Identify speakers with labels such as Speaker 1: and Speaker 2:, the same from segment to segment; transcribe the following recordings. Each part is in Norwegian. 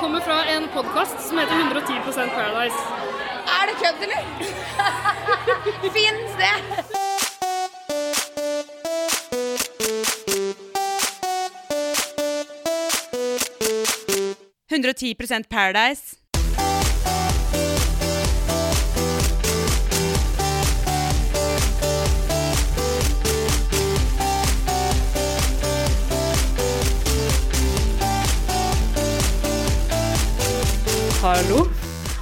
Speaker 1: kommer fra en podkast som heter 110 Paradise.
Speaker 2: Er det kødd, eller? Fins det?
Speaker 3: «110% Paradise».
Speaker 1: Hallo.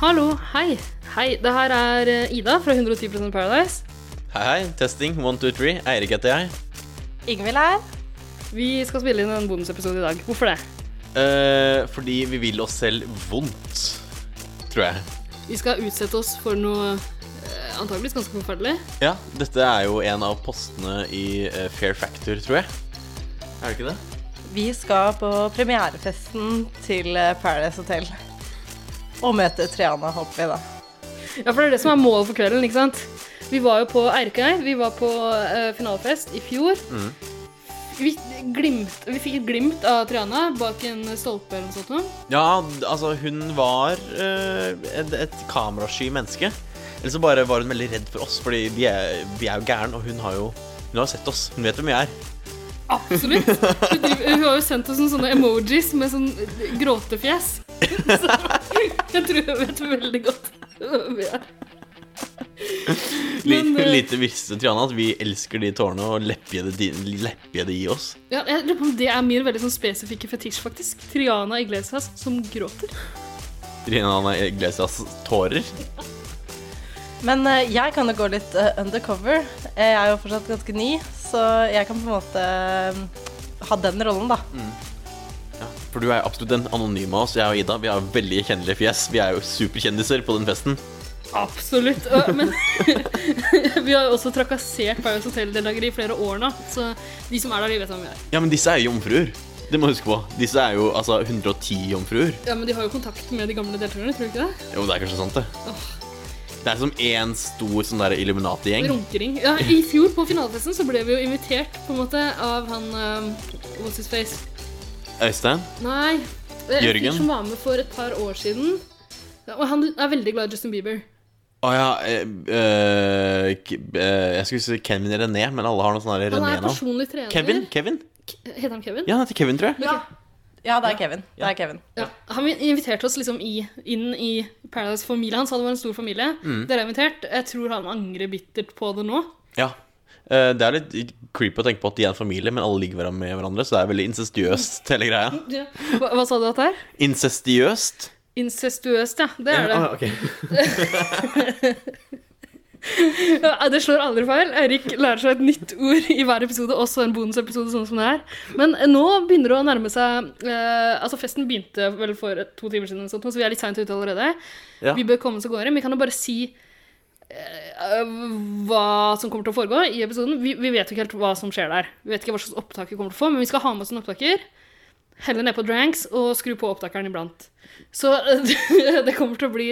Speaker 1: Hallo. Hei. Hei. Det her er eh, Ida fra 110 Paradise.
Speaker 4: Hei, hei. Testing. One, two, three. Eirik heter jeg.
Speaker 5: Ingvild her.
Speaker 1: Vi skal spille inn en bonusepisode i dag. Hvorfor det?
Speaker 4: Eh, fordi vi vil oss selv vondt, tror jeg.
Speaker 1: Vi skal utsette oss for noe eh, antageligvis ganske forferdelig.
Speaker 4: Ja, dette er jo en av postene i eh, Fair Factor, tror jeg. Er det ikke det?
Speaker 5: Vi skal på premierefesten til eh, Paradise Hotel. Og møte Triana, håper vi, da.
Speaker 1: Ja, for det er det som er målet for kvelden, ikke sant? Vi var jo på Erkei, vi var på eh, finalefest i fjor. Vi, glimt, vi fikk et glimt av Triana bak en stolpe eller noe sånt. noe.
Speaker 4: Ja, d- altså, hun var eh, et, et kamerasky menneske. Eller så bare var hun veldig redd for oss, fordi vi er, vi er jo gæren, og hun har jo hun har sett oss. Hun vet hvem vi er.
Speaker 1: Absolutt. Hun, driver, hun har jo sendt oss noen sånne emojis med sånn gråtefjes. Så jeg tror jeg vet veldig godt hvem vi er. Men,
Speaker 4: Lite,
Speaker 1: eh,
Speaker 4: lite visste Triana at vi elsker de tårene og leppjede de, leppjede de i oss.
Speaker 1: Ja, jeg lurer på om det er min veldig sånn spesifikke fetisj, faktisk. Triana Iglesias som gråter.
Speaker 4: Triana Iglesias tårer.
Speaker 5: Men eh, jeg kan jo gå litt eh, undercover. Eh, Jeg er jo fortsatt ganske ny, så jeg kan på en måte eh, ha den rollen, da.
Speaker 4: For du er jo absolutt den anonyme av oss. Jeg og Ida vi har jo veldig kjennelige fjes. Vi er jo superkjendiser på den festen.
Speaker 1: Absolutt. øh, Men vi har jo også trakassert Paradise Hotel-deltakere i flere år nå, så de som er der, de vet hvem vi er.
Speaker 4: Ja, men disse er jo jomfruer. Det må du huske på. Disse er jo altså 110 jomfruer.
Speaker 1: Ja, Men de har jo kontakt med de gamle deltakerne, tror du ikke det?
Speaker 4: Jo, det er kanskje sant, det. Det er som én stor sånn der Illuminati-gjeng.
Speaker 1: Runkering. Ja, I fjor på finalefesten så ble vi jo invitert på en måte av han øh, What's his face?
Speaker 4: Øystein?
Speaker 1: Nei. det er en fyr
Speaker 4: Jørgen?
Speaker 1: Som var med for et par år siden. Ja, Og han er veldig glad i Justin Bieber.
Speaker 4: Å ja eh, eh, K- eh, Jeg skulle si Kevin René, men alle har noe sånn der
Speaker 1: Han er
Speaker 4: René-navn.
Speaker 1: personlig trener.
Speaker 4: Kevin? Kevin?
Speaker 1: Heter han Kevin?
Speaker 4: Ja, han heter Kevin, tror jeg.
Speaker 5: Ja. ja, det er Kevin. Det er Kevin.
Speaker 1: Ja, han inviterte oss liksom i, inn i Paradise-familien. Han sa det var en stor familie.
Speaker 4: Mm.
Speaker 1: Dere er invitert. Jeg tror han angrer bittert på det nå.
Speaker 4: Ja. Eh, Det er litt creepy å tenke på at de er en familie, men alle ligger hverandre med hverandre, så det er veldig incestuøst, hele
Speaker 1: Mm.
Speaker 4: greia.
Speaker 1: Hva, hva sa du at det er?
Speaker 4: Incestiøst?
Speaker 1: Incestuøst, ja. Det er det.
Speaker 4: Ah, ok.
Speaker 1: Ja, det slår aldri feil. Eirik lærer seg et nytt ord i hver episode, også en bonusepisode, sånn som det er. Men eh, nå begynner det å nærme seg eh, Altså, festen begynte vel for et- to timer siden, eller sånt, så vi er litt seint ute allerede.
Speaker 4: Ja.
Speaker 1: Vi bør komme oss av gårde. Men vi kan jo bare si eh, hva som kommer til å foregå i episoden. Vi, vi vet jo ikke helt hva som skjer der. Vi vet ikke hva slags opptak vi kommer til å få, men vi skal ha med oss en opptaker. Helle ned på dranks og skru på opptakeren iblant. Så eh, det kommer til å bli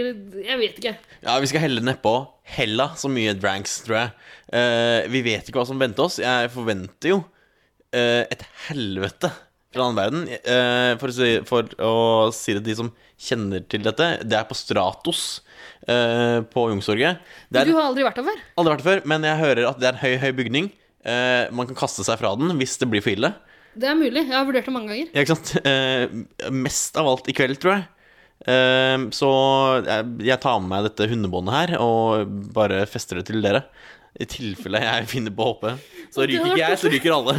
Speaker 1: Jeg vet ikke.
Speaker 4: Ja, vi skal helle nedpå hella så mye dranks, tror jeg. Eh, vi vet ikke hva som venter oss. Jeg forventer jo eh, et helvete fra den annen verden. Eh, for, å si, for å si det til de som kjenner til dette, det er på Stratos eh, på Youngstorget. Det
Speaker 1: Du
Speaker 4: er
Speaker 1: har aldri vært der før?
Speaker 4: aldri vært det før, men jeg hører at det er en høy, høy bygning. Eh, man kan kaste seg fra den hvis det blir for ille.
Speaker 1: Det er mulig. Jeg har vurdert det mange ganger.
Speaker 4: Ja, ikke sant? Eh, mest av alt i kveld, tror jeg. Eh, så jeg, jeg tar med meg dette hundebåndet her og bare fester det til dere. I tilfelle jeg finner på å hoppe. Så ryker ikke jeg, så ryker alle.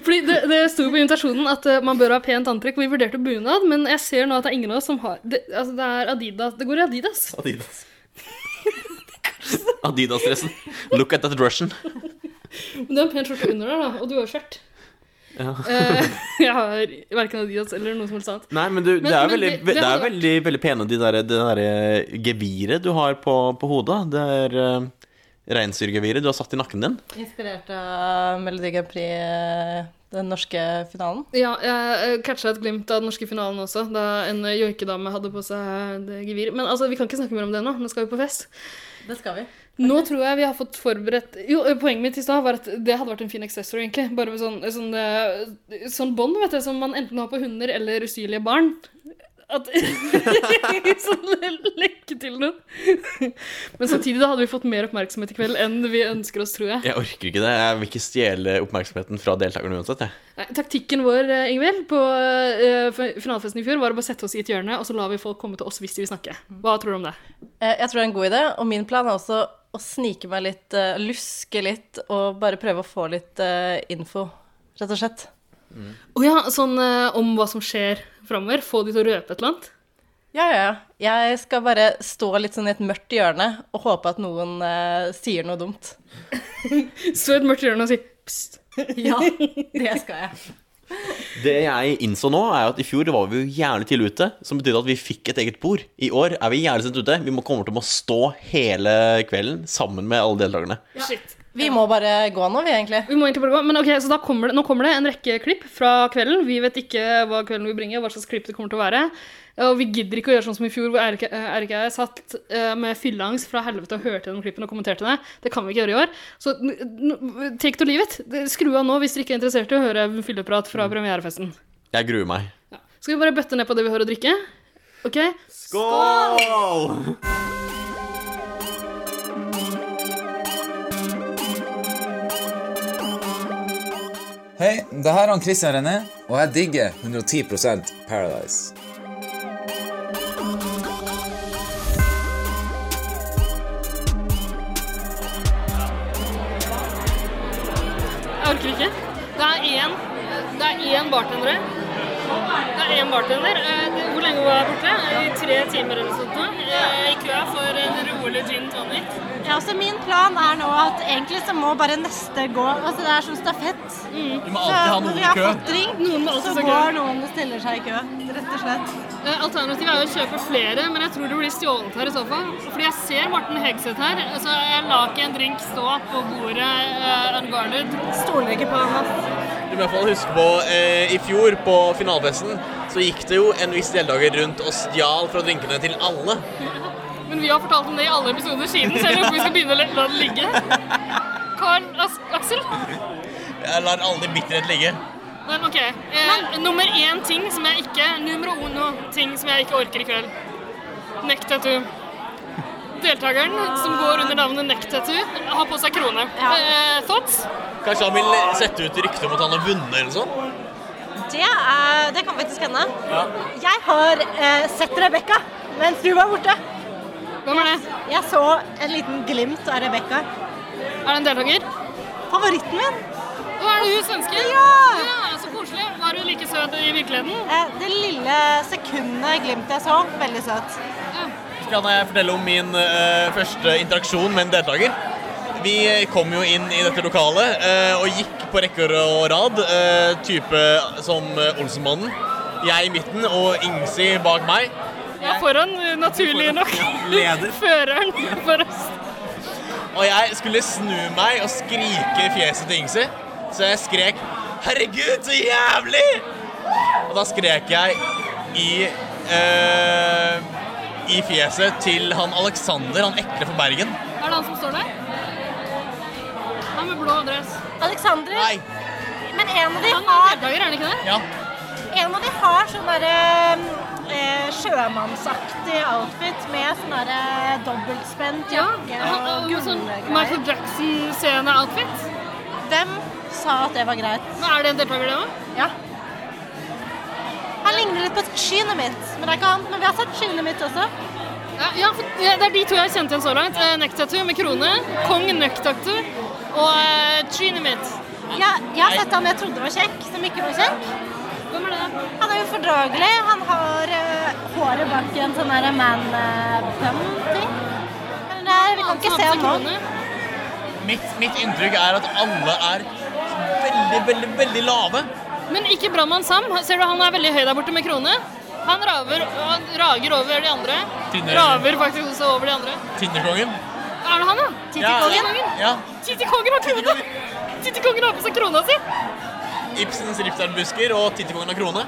Speaker 1: Fordi det, det sto på invitasjonen at eh, man bør ha pent antrekk. Vi vurderte bunad, men jeg ser nå at det er ingen av oss som har Det, altså, det er Adidas. Det går i Adidas.
Speaker 4: Adidas. Adidas-dressen. Look at that Russian.
Speaker 1: Men du har en pen skjorte under der, da. Og du har jo skjørt.
Speaker 4: Ja.
Speaker 1: Eh, jeg har verken Adidas eller noe som helst annet.
Speaker 4: Nei, men, du,
Speaker 1: Men-
Speaker 4: det er jo
Speaker 1: men
Speaker 4: veldig,
Speaker 1: det- det
Speaker 4: det er
Speaker 1: hadde
Speaker 4: veldig, veldig pene, de der, det derre geviret du har på, på hodet. Det er uh, reinsdyrgeviret du har satt i nakken din.
Speaker 5: Inspirert av Melodi Grand Prix, eh, den norske finalen.
Speaker 1: Ja, jeg catcha et glimt av den norske finalen også, da en eh, joikedame hadde på seg det geviret. Men altså, vi kan ikke snakke mer om det nå. Nå skal vi på fest.
Speaker 5: Det skal vi.
Speaker 1: Nå tror jeg vi har fått forberedt Jo, eh, poenget mitt i stad var at det hadde vært en fin accessory, egentlig. Bare med sånn, sånn, eh, sånn bånd, vet du, som man enten har på hunder eller usyrlige barn. at sånn lenke til noen. Men samtidig da hadde vi fått mer oppmerksomhet i kveld enn vi ønsker oss, tror jeg.
Speaker 6: Jeg orker ikke det. Jeg vil ikke stjele oppmerksomheten fra deltakerne uansett. Jeg.
Speaker 1: Nei, taktikken vår, eh, Ingvild, på eh, f- finalefesten i fjor var å bare sette oss i et hjørne, og så lar vi folk komme til oss hvis de vil snakke. Hva tror du om det?
Speaker 5: Eh, Jeg tror det er en god idé, og min plan er også å snike meg litt, eh, luske litt, og bare prøve å få litt eh, info, rett og slett.
Speaker 1: Å ja, sånn eh, om hva som skjer framover. Få de til å røpe et eller annet.
Speaker 5: Ja, ja, ja. Jeg skal bare stå litt sånn i et mørkt hjørne og håpe at noen eh, sier noe dumt.
Speaker 1: Stå i et mørkt hjørne og si pst.
Speaker 5: Ja, det skal jeg.
Speaker 6: Det jeg innså nå, er at i fjor var vi jo jævlig tidlig ute, som betydde at vi fikk et eget bord. I år er vi jævlig sent ute. Vi må komme til å må stå hele kvelden sammen med alle deltakerne.
Speaker 1: Shit.
Speaker 5: Vi må bare gå nå, vi, egentlig.
Speaker 1: Vi må egentlig bare gå. Men ok, så da kommer det, nå kommer det en rekke klipp fra kvelden. Vi vet ikke hva kvelden vil bringe, hva slags klipp det kommer til å være. Og vi gidder ikke å gjøre sånn som i fjor, hvor Eirik eh, Eirik og jeg satt eh, med fylleangst fra helvete og hørte gjennom klippene og kommenterte det. Det kan vi ikke gjøre i år. Så n- n- take to leave it. Skru av nå hvis dere ikke er interessert i å høre fylleprat fra premierefesten.
Speaker 6: Jeg gruer meg.
Speaker 1: Skal vi bare bøtte ned på det vi har å drikke? Ok?
Speaker 6: Skål!
Speaker 7: Hei, det her er han Christian René, og jeg digger 110 Paradise.
Speaker 1: Jeg orker ikke. Det er én, det er én bartendere. Det er én bartender. Eh, det- Hvor lenge var jeg borte? Eh, I tre timer eller sånt nå. Eh, I køa for en rolig gin tonic.
Speaker 8: Ja, så Min plan er nå at egentlig så må bare neste gå. Altså Det er som stafett.
Speaker 4: Du må alltid ha
Speaker 8: Når
Speaker 4: noen
Speaker 8: vi
Speaker 4: i
Speaker 8: har
Speaker 4: kø.
Speaker 8: fått drink,
Speaker 1: Noen må alltid
Speaker 8: så
Speaker 1: stå i kø.
Speaker 8: går noen og stiller seg i kø. Rett og slett.
Speaker 1: Eh, Alternativet er jo å kjøpe flere, men jeg tror det blir stjålet her i så fall. Fordi jeg ser Morten Hegseth her, så jeg lar ikke en drink stå på bordet uh, unguarded.
Speaker 8: Stoler ikke på ham.
Speaker 6: Du må i hvert fall huske på eh, i fjor på finalefesten så gikk det jo en viss deltaker rundt og stjal fra drinkene til alle.
Speaker 1: Men vi har fortalt om det i alle episoder siden, så jeg lurer på om vi skal begynne å la la det ligge. Karen As Aksel?
Speaker 6: Jeg lar aldri bitterhet ligge.
Speaker 1: Men ok, eh, nummer én ting som jeg ikke Numero uno ting som jeg ikke orker i kveld. Neck tattoo. Deltakeren som går under navnet Neck tattoo, har på seg krone. Eh, thoughts?
Speaker 4: Kanskje han vil sette ut rykte om at han har vunnet eller sånn?
Speaker 8: Det, er, det kan faktisk hende. Jeg har eh, sett Rebekka mens du var borte.
Speaker 1: Hvem er det?
Speaker 8: Jeg så en liten glimt av Rebekka.
Speaker 1: Er det en deltaker?
Speaker 8: Favoritten min.
Speaker 1: Å, er det hun svenske?
Speaker 8: Ja!
Speaker 1: ja! Så koselig. Var hun like søt i virkeligheten?
Speaker 8: Eh, det lille sekundet glimtet jeg så, veldig søt.
Speaker 4: Kan jeg fortelle om min eh, første interaksjon med en deltaker? Vi eh, kom jo inn i dette lokalet eh, og gikk på rekker og rad, eh, type som eh, Olsenmannen. Jeg i midten og Ingsi bak meg.
Speaker 1: Ja, foran, eh, naturlig nok.
Speaker 4: Leder.
Speaker 1: Føreren for oss.
Speaker 4: Og jeg skulle snu meg og skrike i fjeset til Ingsi, så jeg skrek 'Herregud, så jævlig!' Og da skrek jeg i eh, i fjeset til han Alexander, han ekle fra Bergen.
Speaker 1: Er det han som står der? Han med blå dress.
Speaker 8: Alexandre,
Speaker 4: Nei.
Speaker 8: men en av de
Speaker 1: Han er
Speaker 8: har
Speaker 1: deltaker, er han ikke det?
Speaker 4: Ja.
Speaker 8: En av de har sånn derre eh, sjømannsaktig outfit med sånn derre dobbeltspent
Speaker 1: Ja,
Speaker 8: jakke
Speaker 1: han-
Speaker 8: og
Speaker 1: med sånn
Speaker 8: gullgreier.
Speaker 1: Michael Jackson-scene-outfit.
Speaker 8: Dem sa at det var greit.
Speaker 1: Men Er det en deltaker, det òg?
Speaker 8: Ja. Han ligner litt på skyene mitt, men det er ikke han. Men vi har sett skyene mitt også.
Speaker 1: Ja, ja, for det det er de to jeg har kjent igjen så langt. Eh, Neck Tattoo med krone, Kong Neck Tattoo og eh, trynet mitt.
Speaker 8: Ja, jeg har sett han jeg trodde var kjekk, som ikke var kjekk.
Speaker 1: Hvem er det?
Speaker 8: Han er ufordragelig. Han har eh, håret bak i en sånn eh, derre man-bun-ting. Men det er, vi kan ikke se
Speaker 1: Han som har
Speaker 8: han
Speaker 1: på seg
Speaker 8: nå.
Speaker 1: krone.
Speaker 4: Mitt, mitt inntrykk er at alle er veldig, veldig, veldig lave.
Speaker 1: Men ikke Brannmann Sam. Ser du, han er veldig høy der borte med krone. Han raver og han rager over de andre.
Speaker 4: Tynne-
Speaker 1: Raver faktisk også over de andre.
Speaker 4: Tinderkongen.
Speaker 1: Er det han, da? Tittikongen?
Speaker 4: Ja.
Speaker 1: Tittikongen har krone! Tittikongen har på seg krona si!
Speaker 4: Ibsens Ripstad-busker og Tittekongen av krone.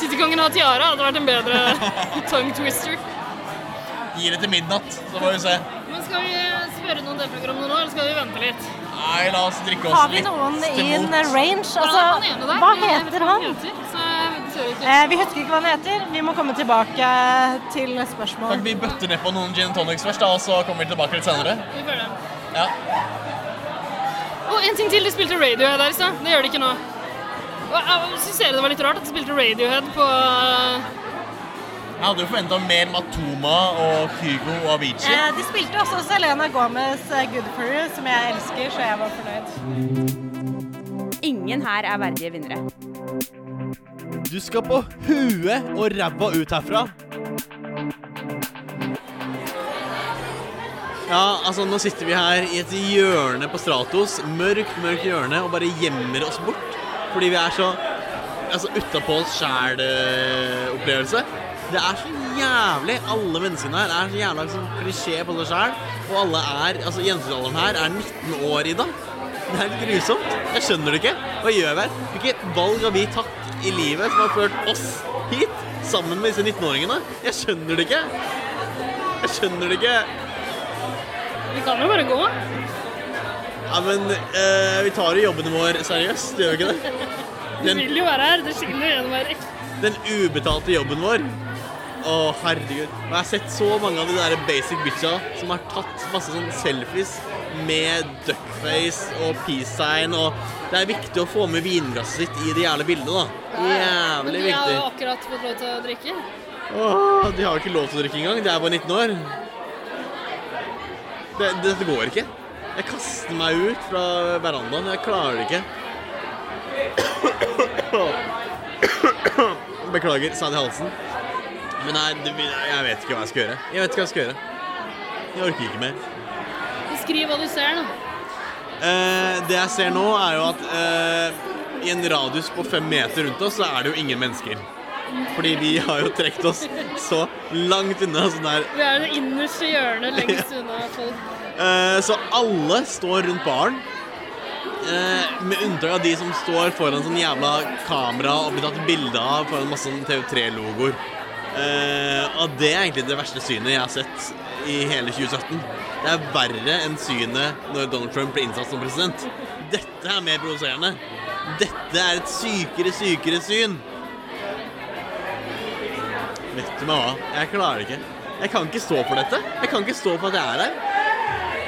Speaker 1: Tittikongen har tiara. Hadde vært en bedre tongue twister.
Speaker 4: Gir det til midnatt, så får vi se.
Speaker 1: Men skal vi spørre noen deltakere om noen år, eller skal vi vente litt?
Speaker 4: Nei, la oss drikke oss
Speaker 8: Har vi
Speaker 4: litt
Speaker 8: noen
Speaker 4: til
Speaker 8: i en
Speaker 4: mot.
Speaker 8: range?
Speaker 1: Ja, han ene
Speaker 8: Altså,
Speaker 1: der,
Speaker 8: hva
Speaker 1: jeg vet
Speaker 8: heter
Speaker 1: ikke hva
Speaker 8: han?
Speaker 1: heter, så jeg vet
Speaker 8: Eh, vi husker ikke hva den heter. Vi må komme tilbake eh, til
Speaker 4: Kan
Speaker 8: spørsmål.
Speaker 4: ikke vi bøtte ned på noen gin and tonics først, da, og så kommer vi tilbake litt senere?
Speaker 1: Vi føler det.
Speaker 4: Ja.
Speaker 1: Og en ting til, de spilte Radiohead her i stad. Det gjør de ikke nå. Og jeg syns dere det var litt rart at de spilte Radiohead på eh,
Speaker 4: Jeg hadde jo forventa mer Matoma og Kygo og Avicii.
Speaker 8: Eh, de spilte også Selena Gomez eh, Good for you, som jeg elsker, så jeg var fornøyd.
Speaker 3: Ingen her er verdige vinnere.
Speaker 9: Du skal på huet og ræva ut herfra.
Speaker 4: Ja, altså nå sitter vi her i et hjørne på Stratos, mørkt, mørkt hjørne, og bare gjemmer oss bort. Fordi vi er så altså utapå oss sjæl-opplevelse. Det er så jævlig. Alle menneskene her er så jævla liksom, klisjé på seg sjæl. Og alle er Altså, jentealderen her er 19 år, Ida. Det er litt grusomt. Jeg skjønner det ikke. Hva gjør vi her? Hvilket valg har vi tatt i livet som har ført oss hit? Sammen med disse 19-åringene? Jeg skjønner det ikke. Jeg skjønner det ikke.
Speaker 1: Vi kan jo bare gå.
Speaker 4: Ja, men eh, vi tar jo jobbene våre seriøst, gjør vi ikke det?
Speaker 1: Vi
Speaker 4: Den,
Speaker 1: vil jo være her. Det skinner gjennom her.
Speaker 4: den ubetalte jobben vår. Å, herregud. Og jeg har sett så mange av de der basic bitcha som har tatt masse sånn selfies med duckface og peace sign og Det er viktig å få med vinglasset sitt i det jævla bildet, da.
Speaker 1: Men de
Speaker 4: Jævlig
Speaker 1: har jo
Speaker 4: viktig.
Speaker 1: akkurat fått lov til å drikke.
Speaker 4: Åh, de har jo ikke lov til å drikke engang. De er bare 19 år. Det, dette går ikke. Jeg kaster meg ut fra verandaen. Jeg klarer det ikke. Beklager, sa det i halsen. Men nei, det, jeg vet ikke hva jeg skal gjøre. Jeg vet ikke hva jeg skal gjøre. Jeg orker ikke mer.
Speaker 1: Beskriv hva du ser, da.
Speaker 4: Eh, det jeg ser nå, er jo at eh, i en radius på fem meter rundt oss, så er det jo ingen mennesker. Fordi vi har jo trukket oss så langt unna. Sånn der
Speaker 1: Vi er i det innerste hjørnet lengst unna folk.
Speaker 4: Eh, Så alle står rundt baren. Eh, Med unntak av de som står foran sånn jævla kamera og blir tatt bilde av foran masse sånn TV3-logoer. Eh, og det er egentlig det verste synet jeg har sett i hele 2017. Det er verre enn synet når Donald Trump ble innsatt som president. Dette er mer provoserende. Dette er et sykere, sykere syn. Vet du meg hva? Jeg klarer det ikke. Jeg kan ikke stå for dette. Jeg kan ikke stå for at jeg er her.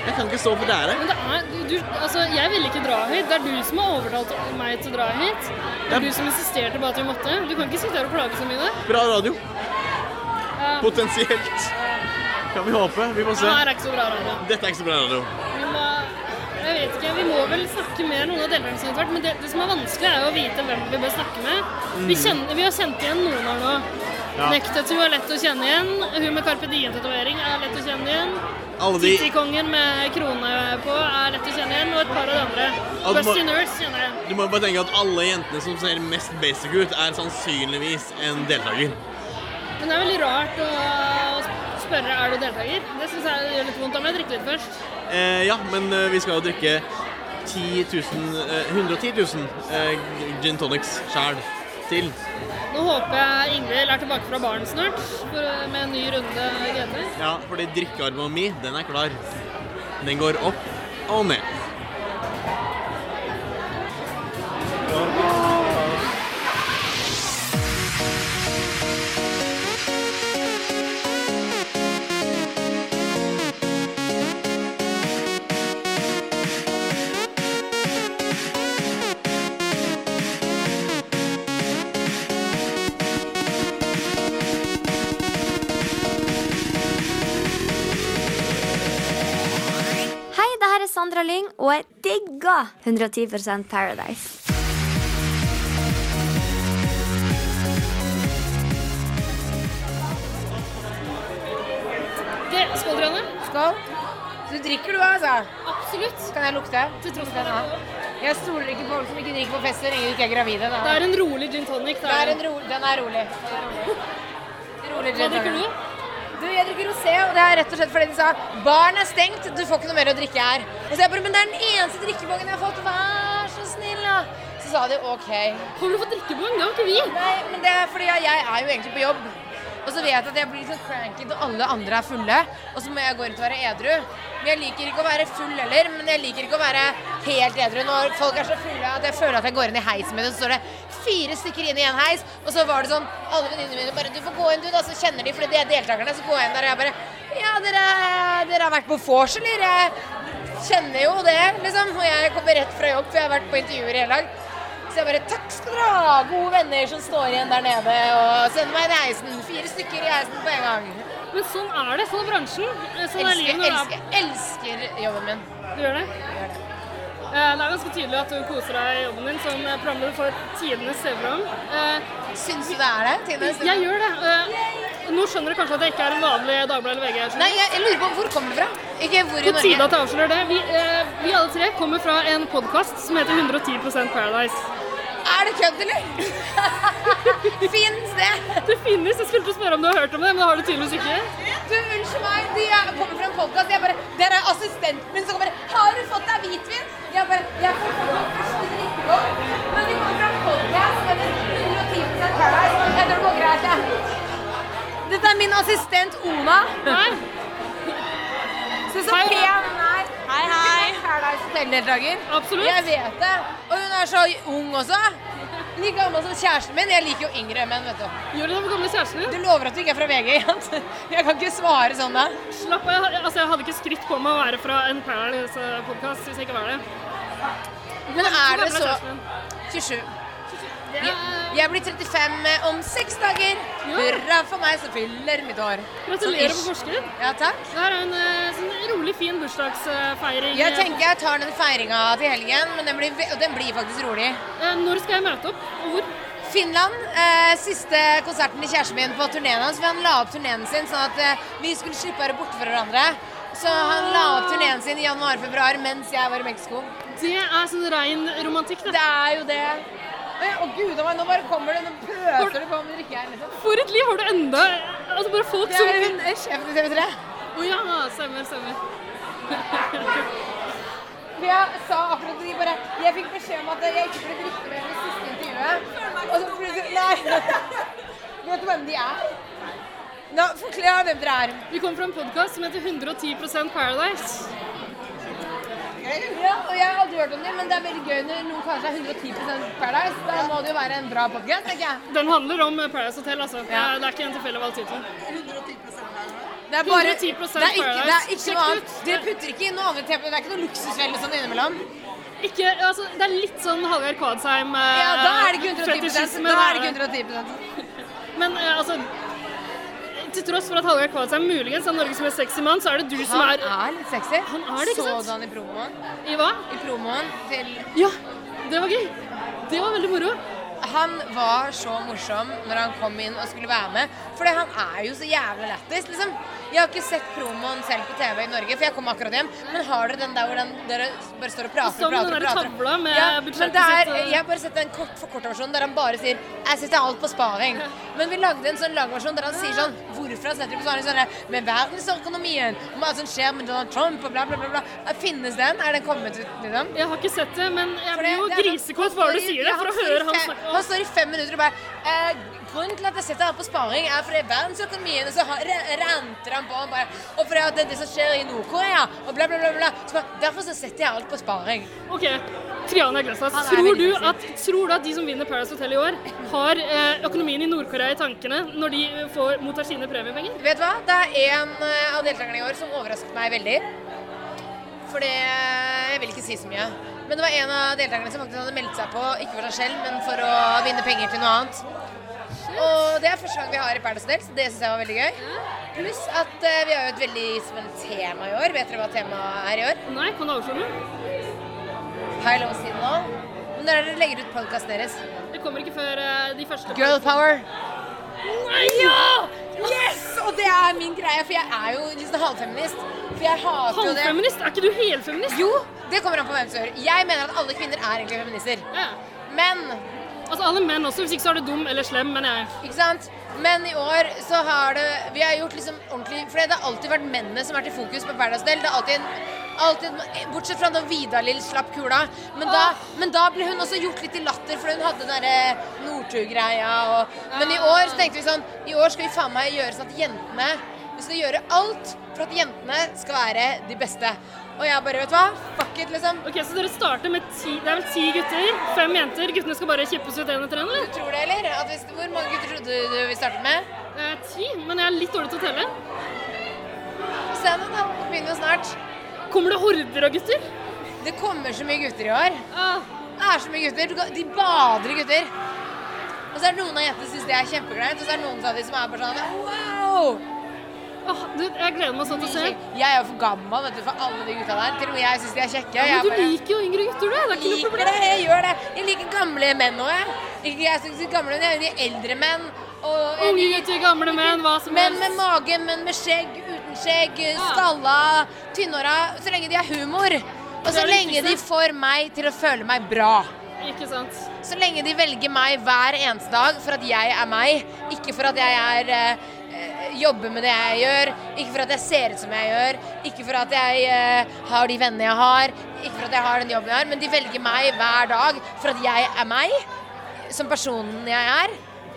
Speaker 4: Jeg kan ikke stå for det her. jeg.
Speaker 1: Men det er, du, du, altså, jeg ville ikke dra hit. Det er du som har overtalt meg til å dra hit. Det
Speaker 4: Ja.
Speaker 1: er du som insisterte på at vi måtte. Du kan ikke sitte her og klage så mye.
Speaker 4: Bra radio.
Speaker 1: Ja.
Speaker 4: Potensielt. Kan vi håpe. Vi får
Speaker 1: Det
Speaker 4: se.
Speaker 1: her er ikke så bra radio.
Speaker 4: Dette er ikke så bra radio.
Speaker 1: Vi må, jeg vet ikke, vi må vel snakke med noen av deltakerne som har vært, men det, det som er vanskelig er jo å vite hvem vi bør snakke med. Vi, kjenner, vi har kjent igjen noen her nå.
Speaker 4: Mm. Ja.
Speaker 1: Nektatu er lett å kjenne igjen. Hun med Carpe Diem-tatovering er lett å kjenne igjen.
Speaker 4: Alle de
Speaker 1: Titti-kongen med krone på er lett å kjenne igjen, og et par av de andre.
Speaker 4: At man-
Speaker 1: Busty Nurse kjenner jeg.
Speaker 4: Du må jo bare tenke at alle jentene som ser mest basic ut, er sannsynligvis en deltaker.
Speaker 1: Men det er veldig rart å, å spørre er du deltaker. Det syns jeg gjør litt vondt. Da må jeg drikke litt først.
Speaker 4: Eh, ja, men eh, vi skal jo drikke 10 000, eh, 110 000 eh, gin tonics sjæl til.
Speaker 1: Nå håper jeg Ingvild er tilbake fra baren snart for, med en ny runde GT.
Speaker 4: Ja, fordi drikkearmen min, den er klar. Den går opp og ned.
Speaker 10: Hei, det her er Sandra Lyng, og jeg digger 110 Paradise.
Speaker 1: Det, skål, Trane.
Speaker 2: Skål. Så du drikker du, altså?
Speaker 1: Absolutt.
Speaker 2: Kan jeg lukte?
Speaker 1: Til tross
Speaker 2: Lukte den, ja. Jeg stoler ikke på folk som ikke drikker på fest så lenge de ikke er gravide. Da.
Speaker 1: Det er en rolig gin tonic.
Speaker 2: Det er en ro den er rolig. rolig
Speaker 1: Hva drikker du?
Speaker 2: Du, Jeg drikker rosé, og det er rett og slett fordi de sa baren er stengt, du får ikke noe mer å drikke her. Og så jeg bare, Men det er den eneste drikkebongen jeg har fått, vær så snill, da. Så sa de OK.
Speaker 1: Kommer du få drikkebong? Det har ikke vi.
Speaker 2: Nei, men det er fordi jeg, jeg er jo egentlig på jobb. Og så vet jeg at jeg blir sånn cranky når alle andre er fulle, og så må jeg gå rundt og være edru. Men jeg liker ikke å være full heller, men jeg liker ikke å være helt edru når folk er så fulle at jeg føler at jeg går inn i heisen med det, og så står det fire stykker inn i en heis, og så var det sånn Alle venninnene mine bare 'Du får gå inn, du, da.' Så kjenner de, fordi de er deltakerne. Så går jeg inn der, og jeg bare 'Ja, dere, dere har vært på vors, eller?' Jeg kjenner jo det, liksom. Og jeg kommer rett fra jobb, for jeg har vært på intervjuer i hele dag. Så jeg bare 'Takk skal dere ha, gode venner som står igjen der nede', og sender meg inn i heisen. Fire stykker i heisen på en gang.
Speaker 1: Men sånn er det. Sånn er bransjen. Eh, Sånn er livet
Speaker 2: Elsker,
Speaker 1: når du
Speaker 2: elsker,
Speaker 1: er
Speaker 2: elsker jobben min.
Speaker 1: Du gjør det? Eh, Det er ganske tydelig at du koser deg i jobben din som eh, programleder for Tidenes Eh, TV-program.
Speaker 2: Syns du det er det? Tidenes
Speaker 1: Jeg gjør det. Eh, Nå skjønner du kanskje at jeg ikke er en vanlig Dagbladet eller VG.
Speaker 2: Nei, jeg, jeg lurer på hvor kommer det fra? Ikke hvor i
Speaker 1: På tide at
Speaker 2: Norge.
Speaker 1: jeg avslører det. Vi, eh, vi alle tre kommer fra en podkast som heter 110 Paradise.
Speaker 2: Er det kødd, eller? Fins det?
Speaker 1: Det finnes. Jeg skulle til å spørre om du har hørt om det, men det har du tydeligvis ikke.
Speaker 2: Du, unnskyld meg, de er- kommer fra en podkast. Jeg bare Der er assistenten min som kommer. Har du fått deg hvitvin? Jeg bare Jeg får få meg første drikkekopp. Men de kommer fra en podkast. 110 Paradise. Jeg tror det går greit, jeg. Dette er min assistent Ona.
Speaker 1: Hei.
Speaker 2: Se så
Speaker 8: Hei, Ona.
Speaker 2: pen hun er. Hei, hei. Paradise Hotel-deltaker.
Speaker 1: Absolutt.
Speaker 2: Jeg vet det. Og hun er så ung også. Like gammel som kjæresten min. Jeg liker jo yngre menn, vet du.
Speaker 1: Gjør du det? Hvor gammel er kjæresten din?
Speaker 2: Du lover at du ikke er fra VG? Jens? Jeg kan ikke svare sånn, da.
Speaker 1: Slapp av. Jeg, altså, jeg hadde ikke skrytt på meg å være fra en Paradise-podkast hvis jeg ikke var det.
Speaker 2: Men
Speaker 1: Hvor
Speaker 2: er det
Speaker 1: gammel
Speaker 2: så
Speaker 1: kjæresten din? eh,
Speaker 2: 27.
Speaker 1: Det
Speaker 2: Jeg,
Speaker 1: er-
Speaker 2: jeg blir 35 om seks dager. Hurra for meg som fyller mitt år.
Speaker 1: Gratulerer på
Speaker 2: Sånn ish.
Speaker 1: forskudd.
Speaker 2: Ja, takk.
Speaker 1: Det her er en eh, sånn rolig, fin bursdagsfeiring.
Speaker 2: Jeg tenker jeg tar den feiringa til helgen, men den blir, ve- og den blir faktisk rolig.
Speaker 1: Eh, Når skal jeg møte opp, og hvor?
Speaker 2: Finland. Eh, siste konserten til kjæresten min på turneen hans. For han la opp turneen sin sånn at eh, vi skulle slippe å være borte fra hverandre. Så han la opp turneen sin i januar-februar mens jeg var i Mexico.
Speaker 1: Det er sånn rein romantikk, det.
Speaker 2: Det er jo det. Å ja, å gud a meg, nå bare kommer det. Nå pøser det på med drikke her, liksom.
Speaker 1: For et liv har du enda Altså bare folk
Speaker 2: Det
Speaker 1: som
Speaker 2: er hun eh, sjefen i TV3.
Speaker 1: Å ja, stemmer, stemmer.
Speaker 2: For jeg sa akkurat de bare Jeg fikk beskjed om at jeg ikke skulle drikke mer i det siste intervjuet. Og så plutselig Nei. Vet du hvem de er? Nå, Forklar hvem dere er.
Speaker 1: Vi kommer fra en podkast som heter 110 Paradise.
Speaker 2: Ja, og jeg har aldri hørt om dem, men det er veldig gøy når noen kaller seg 110 Paradise. Da må det jo være en bra podcast, tenker jeg.
Speaker 1: Den handler om Paradise Hotel, altså.
Speaker 2: Ja.
Speaker 1: Det er ikke en tilfeldig valgt tittel.
Speaker 2: Det er bare
Speaker 1: 110%
Speaker 2: Det er ikke, det er
Speaker 1: Paradise.
Speaker 2: ikke
Speaker 1: Sjekk det
Speaker 2: noe annet.
Speaker 1: ut.
Speaker 2: Dere putter ikke inn noe annet tempo. Det er ikke noe luksusfelle sånn innimellom.
Speaker 1: Ikke, altså, det er litt sånn Hallgeir Kvadsheim eh,
Speaker 2: Ja, da er det ikke 110
Speaker 1: fetisjisme,
Speaker 2: Da
Speaker 1: det
Speaker 2: er det
Speaker 1: er det.
Speaker 2: ikke 110
Speaker 1: Men eh, altså Til tross for at Hallgeir Kvadsheim muligens er Norges mest sexy mann, så er det du som
Speaker 2: Han
Speaker 1: er
Speaker 2: er litt sexy.
Speaker 1: Han er det, ikke sant?
Speaker 2: Så du han i promoen?
Speaker 1: I hva?
Speaker 2: I promoen til
Speaker 1: Ja, det var gøy. Det var veldig moro.
Speaker 2: Han var så morsom når han kom inn og skulle være med. For han er jo så jævlig lættis, liksom. Jeg har ikke sett promoen selv på TV i Norge, for jeg kom akkurat hjem. Men har dere den der hvor den, dere bare står og prater
Speaker 1: Som
Speaker 2: og
Speaker 1: den
Speaker 2: prater? og
Speaker 1: der
Speaker 2: prater?
Speaker 1: tavla med
Speaker 2: Ja, men
Speaker 1: budsjettet
Speaker 2: det er,
Speaker 1: sitt, eh.
Speaker 2: jeg har bare sett en kort forkortversjon der han bare sier 'jeg setter alt på sparing'. Men vi lagde en sånn langversjon der han sier sånn 'hvorfor han setter det på sparing'? Sånn, der, med verdensøkonomien, med alt som skjer med Donald Trump og bla, bla, bla. bla. Finnes den? Er den kommet ut? Liksom?
Speaker 1: Jeg har ikke sett det, men jeg
Speaker 2: For
Speaker 1: blir jo
Speaker 2: det- det er- sånn
Speaker 1: grisekåt
Speaker 2: han
Speaker 1: bare du
Speaker 2: står i-
Speaker 1: sier
Speaker 2: ja,
Speaker 1: det, for å
Speaker 2: står i
Speaker 1: høre han
Speaker 2: fem-
Speaker 1: snakke.
Speaker 2: Han står i fem minutter og bare eh, Grunnen til at jeg setter alt på sparing, er fordi verdensøkonomien Og så har- re- renter han på og bare Og fordi at det er det som skjer i Nord-Korea, og bla, bla, bla. bla. Så bare, Derfor så setter jeg alt på sparing.
Speaker 1: Ok, Triana Glassas,
Speaker 2: Han er
Speaker 1: tror
Speaker 2: veldig
Speaker 1: du, at, tror du at de som vinner Paradise Hotel i år, har eh, økonomien i Nord-Korea i tankene når de eh, får, mottar sine premiepenger?
Speaker 2: Vet du hva? Det er en eh, av deltakerne i år som overrasket meg veldig. For det Jeg vil ikke si så mye. Men det var en av deltakerne som faktisk hadde meldt seg på, ikke for seg selv, men for å vinne penger til noe annet. Og det er første gang vi har i Paradise Hotel, så det syns jeg var veldig gøy. Pluss at eh, vi har jo et veldig spennende tema i år. Vet dere hva temaet er i år?
Speaker 1: Nei, kan du avsløre noe?
Speaker 2: Har jeg lov å si det nå? Men når er det dere legger ut podkasten deres?
Speaker 1: Det kommer ikke før eh, de første
Speaker 2: Girl power.
Speaker 1: Nei!
Speaker 2: Ja! Yes! Og det er min greie, for jeg er jo litt sånn halvfeminist. For jeg hater jo det.
Speaker 1: Halvfeminist? Er ikke du helfeminist?
Speaker 2: Jo, det kommer an på hvem som gjør. Jeg mener at alle kvinner er egentlig feminister.
Speaker 1: Ja.
Speaker 2: Men,
Speaker 1: Altså alle menn også, hvis ikke så er du dum eller slem, men jeg.
Speaker 2: ikke sant? Men i år så har det Vi har gjort liksom ordentlig For det har alltid vært mennene som har vært i fokus på Paradise Hotel. Det er alltid en Alltid, bortsett fra da Vidar-Lill slapp kula. Men da, men da ble hun også gjort litt til latter, for hun hadde den derre Northug-greia og Men i år så tenkte vi sånn I år skal vi faen meg gjøre sånn at jentene Vi skal gjøre alt for at jentene skal være de beste. Og jeg bare, vet du hva? Fuck it, liksom.
Speaker 1: Ok, Så dere starter med ti, det er vel ti gutter? Fem jenter? Guttene skal bare kippes ut én etter én, eller?
Speaker 2: Du tror det, eller? At hvis, hvor mange gutter trodde du vi startet med?
Speaker 1: Eh, ti, men jeg er litt dårlig til å telle.
Speaker 2: Se nå, da. Det Begynner jo snart.
Speaker 1: Kommer det horder av gutter? Ah,
Speaker 2: Det kommer så mye gutter i år. Det er så mye gutter. Du kan- De bader i gutter. Og så er det noen av jentene som syns det er kjempekleint, og så er det noen av de som er bare sånn wow!
Speaker 1: ah, du, jeg gleder meg sånn til å se.
Speaker 2: Jeg er jo for gammel vet du, for alle de gutta der. Til og med jeg syns de er kjekke.
Speaker 1: Ja,
Speaker 2: Jeg
Speaker 1: men
Speaker 2: bare-
Speaker 1: du liker jo yngre gutter, du. Det er ikke noe
Speaker 2: liker
Speaker 1: problem.
Speaker 2: det, jeg gjør det. Jeg liker gamle menn òg, jeg. Ikke jeg synes ikke gamle, men jeg liker eldre menn. Og jeg
Speaker 1: Unge
Speaker 2: liker
Speaker 1: gutter, gamle menn, hva som
Speaker 2: menn
Speaker 1: helst.
Speaker 2: med mage, menn med skjegg, uten skjegg, skalla, tynnhåra. Så lenge de har humor. Og
Speaker 1: Det er
Speaker 2: så
Speaker 1: det
Speaker 2: lenge de
Speaker 1: viktigste.
Speaker 2: får meg til å føle meg bra.
Speaker 1: Ikke sant.
Speaker 2: Så lenge de velger meg hver eneste dag for at jeg er meg, ikke for at jeg er eh, eh, jobber med det jeg gjør, ikke for at jeg ser ut som jeg gjør, ikke for at jeg eh, har de vennene jeg har, ikke for at jeg har den jobben jeg har, men de velger meg hver dag for at jeg er meg, som personen jeg er,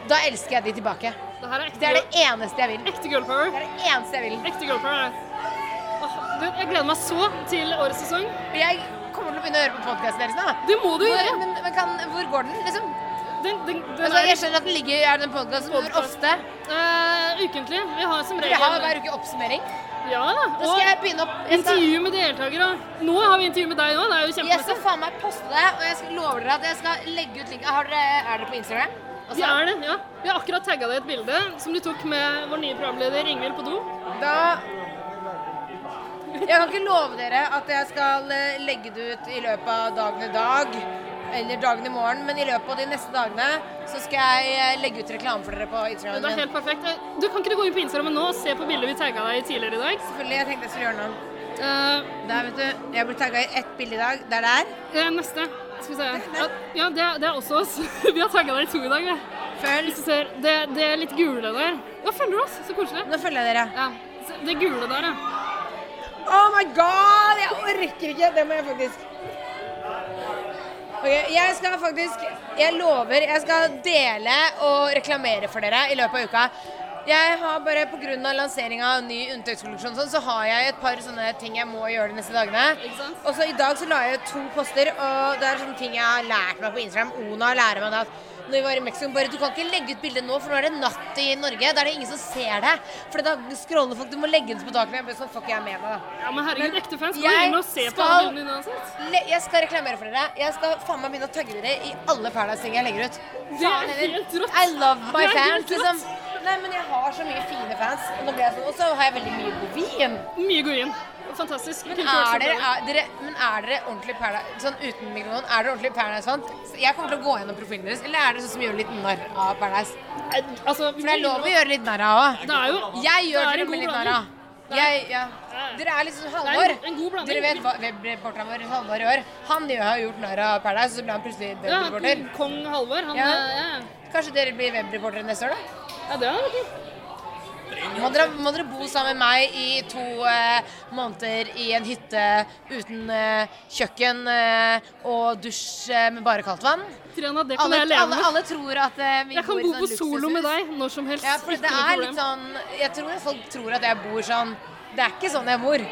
Speaker 2: da elsker jeg de tilbake.
Speaker 1: Det her er ekte
Speaker 2: Det er det eneste jeg vil.
Speaker 1: Ekte girl power.
Speaker 2: Det er det eneste jeg vil.
Speaker 1: Ekte girl power. er det. Åh, du, jeg gleder meg så til årets sesong.
Speaker 2: Jeg kommer til å begynne å høre på podkasten deres nå.
Speaker 1: Det må du
Speaker 2: Hvor,
Speaker 1: gjøre.
Speaker 2: men, men kan, hvor går den, liksom?
Speaker 1: Den, den, den
Speaker 2: Altså,
Speaker 1: er-
Speaker 2: jeg skjønner at den ligger i den podkasten, men hvor
Speaker 1: Podcast.
Speaker 2: ofte?
Speaker 1: Eh, ukentlig. Vi har som regel
Speaker 2: Vi har hver uke oppsummering.
Speaker 1: Ja da.
Speaker 2: Da skal jeg begynne opp
Speaker 1: Og intervju med deltakere. Nå har vi intervju med deg nå. Det er jo
Speaker 2: Jeg skal
Speaker 1: kjempemessig.
Speaker 2: faen meg poste det, og jeg skal love dere at jeg skal legge ut link. Har dere, er dere på Instagram? også?
Speaker 1: Vi er det, ja. Vi har akkurat tagga deg i et bilde som du tok med vår nye programleder Ingvild på do.
Speaker 2: Da Jeg kan ikke love dere at jeg skal eh, legge det ut i løpet av dagen i dag. Eller dagen i morgen, men i løpet av de neste dagene så skal jeg eh, legge ut reklame for dere på Instagram.
Speaker 1: Det er helt perfekt. Eh, Du kan ikke du gå inn på Instagram nå og se på bildet vi tagga deg i tidligere i dag?
Speaker 2: Selvfølgelig. Jeg tenkte jeg skulle gjøre noe.
Speaker 1: Eh,
Speaker 2: Der, vet du. Jeg ble tagga i ett bilde i dag. Det er der.
Speaker 1: eh, neste. Skal vi se. Ja, Ja, det, er- det er også oss. Vi har tagga deg i to i dag. vi.
Speaker 2: Følg.
Speaker 1: Hvis du ser, det, det er litt gule der. Ja, følger du oss? Så koselig.
Speaker 2: Nå følger jeg dere.
Speaker 1: Ja. se- Det gule der, ja.
Speaker 2: Oh my god, jeg orker ikke. Det må jeg faktisk. Ok, Jeg skal faktisk Jeg lover, jeg skal dele og reklamere for dere i løpet av uka. Jeg har bare Pga. lanseringa av ny unntakskolleksjon og sånn, så har jeg et par sånne ting jeg må gjøre de neste dagene.
Speaker 1: Ikke sant?
Speaker 2: Og så I dag så la jeg ut to poster, og det er sånne ting jeg har lært meg på Instagram. Ona lærer meg det at når vi var i Mexico, bare du kan ikke legge ut bilde nå, for nå er det natt i Norge. Da er det ingen som ser det. For da scroller folk. Du må legge ut på takene. Jeg ble sånn, fuck, jeg er med meg, da.
Speaker 1: Ja, Men herregud, ekte fans. Gå
Speaker 2: Jeg
Speaker 1: inn og se på
Speaker 2: skal-
Speaker 1: alle bildene dine uansett.
Speaker 2: Le jeg skal reklamere for dere. Jeg skal faen meg begynne å tagge dere i alle Paradise-ting jeg legger ut.
Speaker 1: Det er
Speaker 2: Faen heller.
Speaker 1: helt rått.
Speaker 2: I love my
Speaker 1: Det er helt
Speaker 2: fans, liksom. Nei, men jeg har så mye fine fans. Og nå ble jeg sånn, og så har jeg veldig mye god vin.
Speaker 1: Mye god vin. Fantastisk.
Speaker 2: Men
Speaker 1: Kunne ikke vært så
Speaker 2: er dere,
Speaker 1: bra.
Speaker 2: er dere, men er dere ordentlig Paradise Sånn uten mikrofon, er dere ordentlig Paradise-fans? Jeg kommer til å gå gjennom profilen deres. Eller er dere sånn som gjør litt narr av Paradise?
Speaker 1: Altså,
Speaker 2: For det er lov å gjøre litt narr av òg.
Speaker 1: Det er jo
Speaker 2: Jeg
Speaker 1: det er
Speaker 2: gjør
Speaker 1: en
Speaker 2: dere
Speaker 1: god
Speaker 2: med litt narr
Speaker 1: blanding.
Speaker 2: av. Jeg, ja. Dere er liksom Halvor.
Speaker 1: en god blanding.
Speaker 2: Dere vet hva webreporteren vår Halvor gjør. Han gjør- har gjort narr av Paradise, så ble han plutselig
Speaker 1: Ja,
Speaker 2: webreporter.
Speaker 1: Kong Halvor. Han,
Speaker 2: Ja.
Speaker 1: eh, ja.
Speaker 2: Kanskje dere blir webreportere neste år, da?
Speaker 1: ja, det er det.
Speaker 2: Må dere, må dere bo sammen med meg i to eh, måneder i en hytte uten eh, kjøkken eh, og dusj eh, med bare kaldt vann?
Speaker 1: Triana, det kan
Speaker 2: Alle,
Speaker 1: jeg leve
Speaker 2: alle,
Speaker 1: med.
Speaker 2: alle tror at eh, vi
Speaker 1: jeg kan
Speaker 2: bor
Speaker 1: bo
Speaker 2: i
Speaker 1: på
Speaker 2: sånn
Speaker 1: solo
Speaker 2: luksushus.
Speaker 1: med deg når som helst.
Speaker 2: Ja, for
Speaker 1: ikke
Speaker 2: det
Speaker 1: noe
Speaker 2: er
Speaker 1: problem.
Speaker 2: litt sånn Jeg tror at folk tror at jeg bor sånn Det er ikke sånn jeg bor.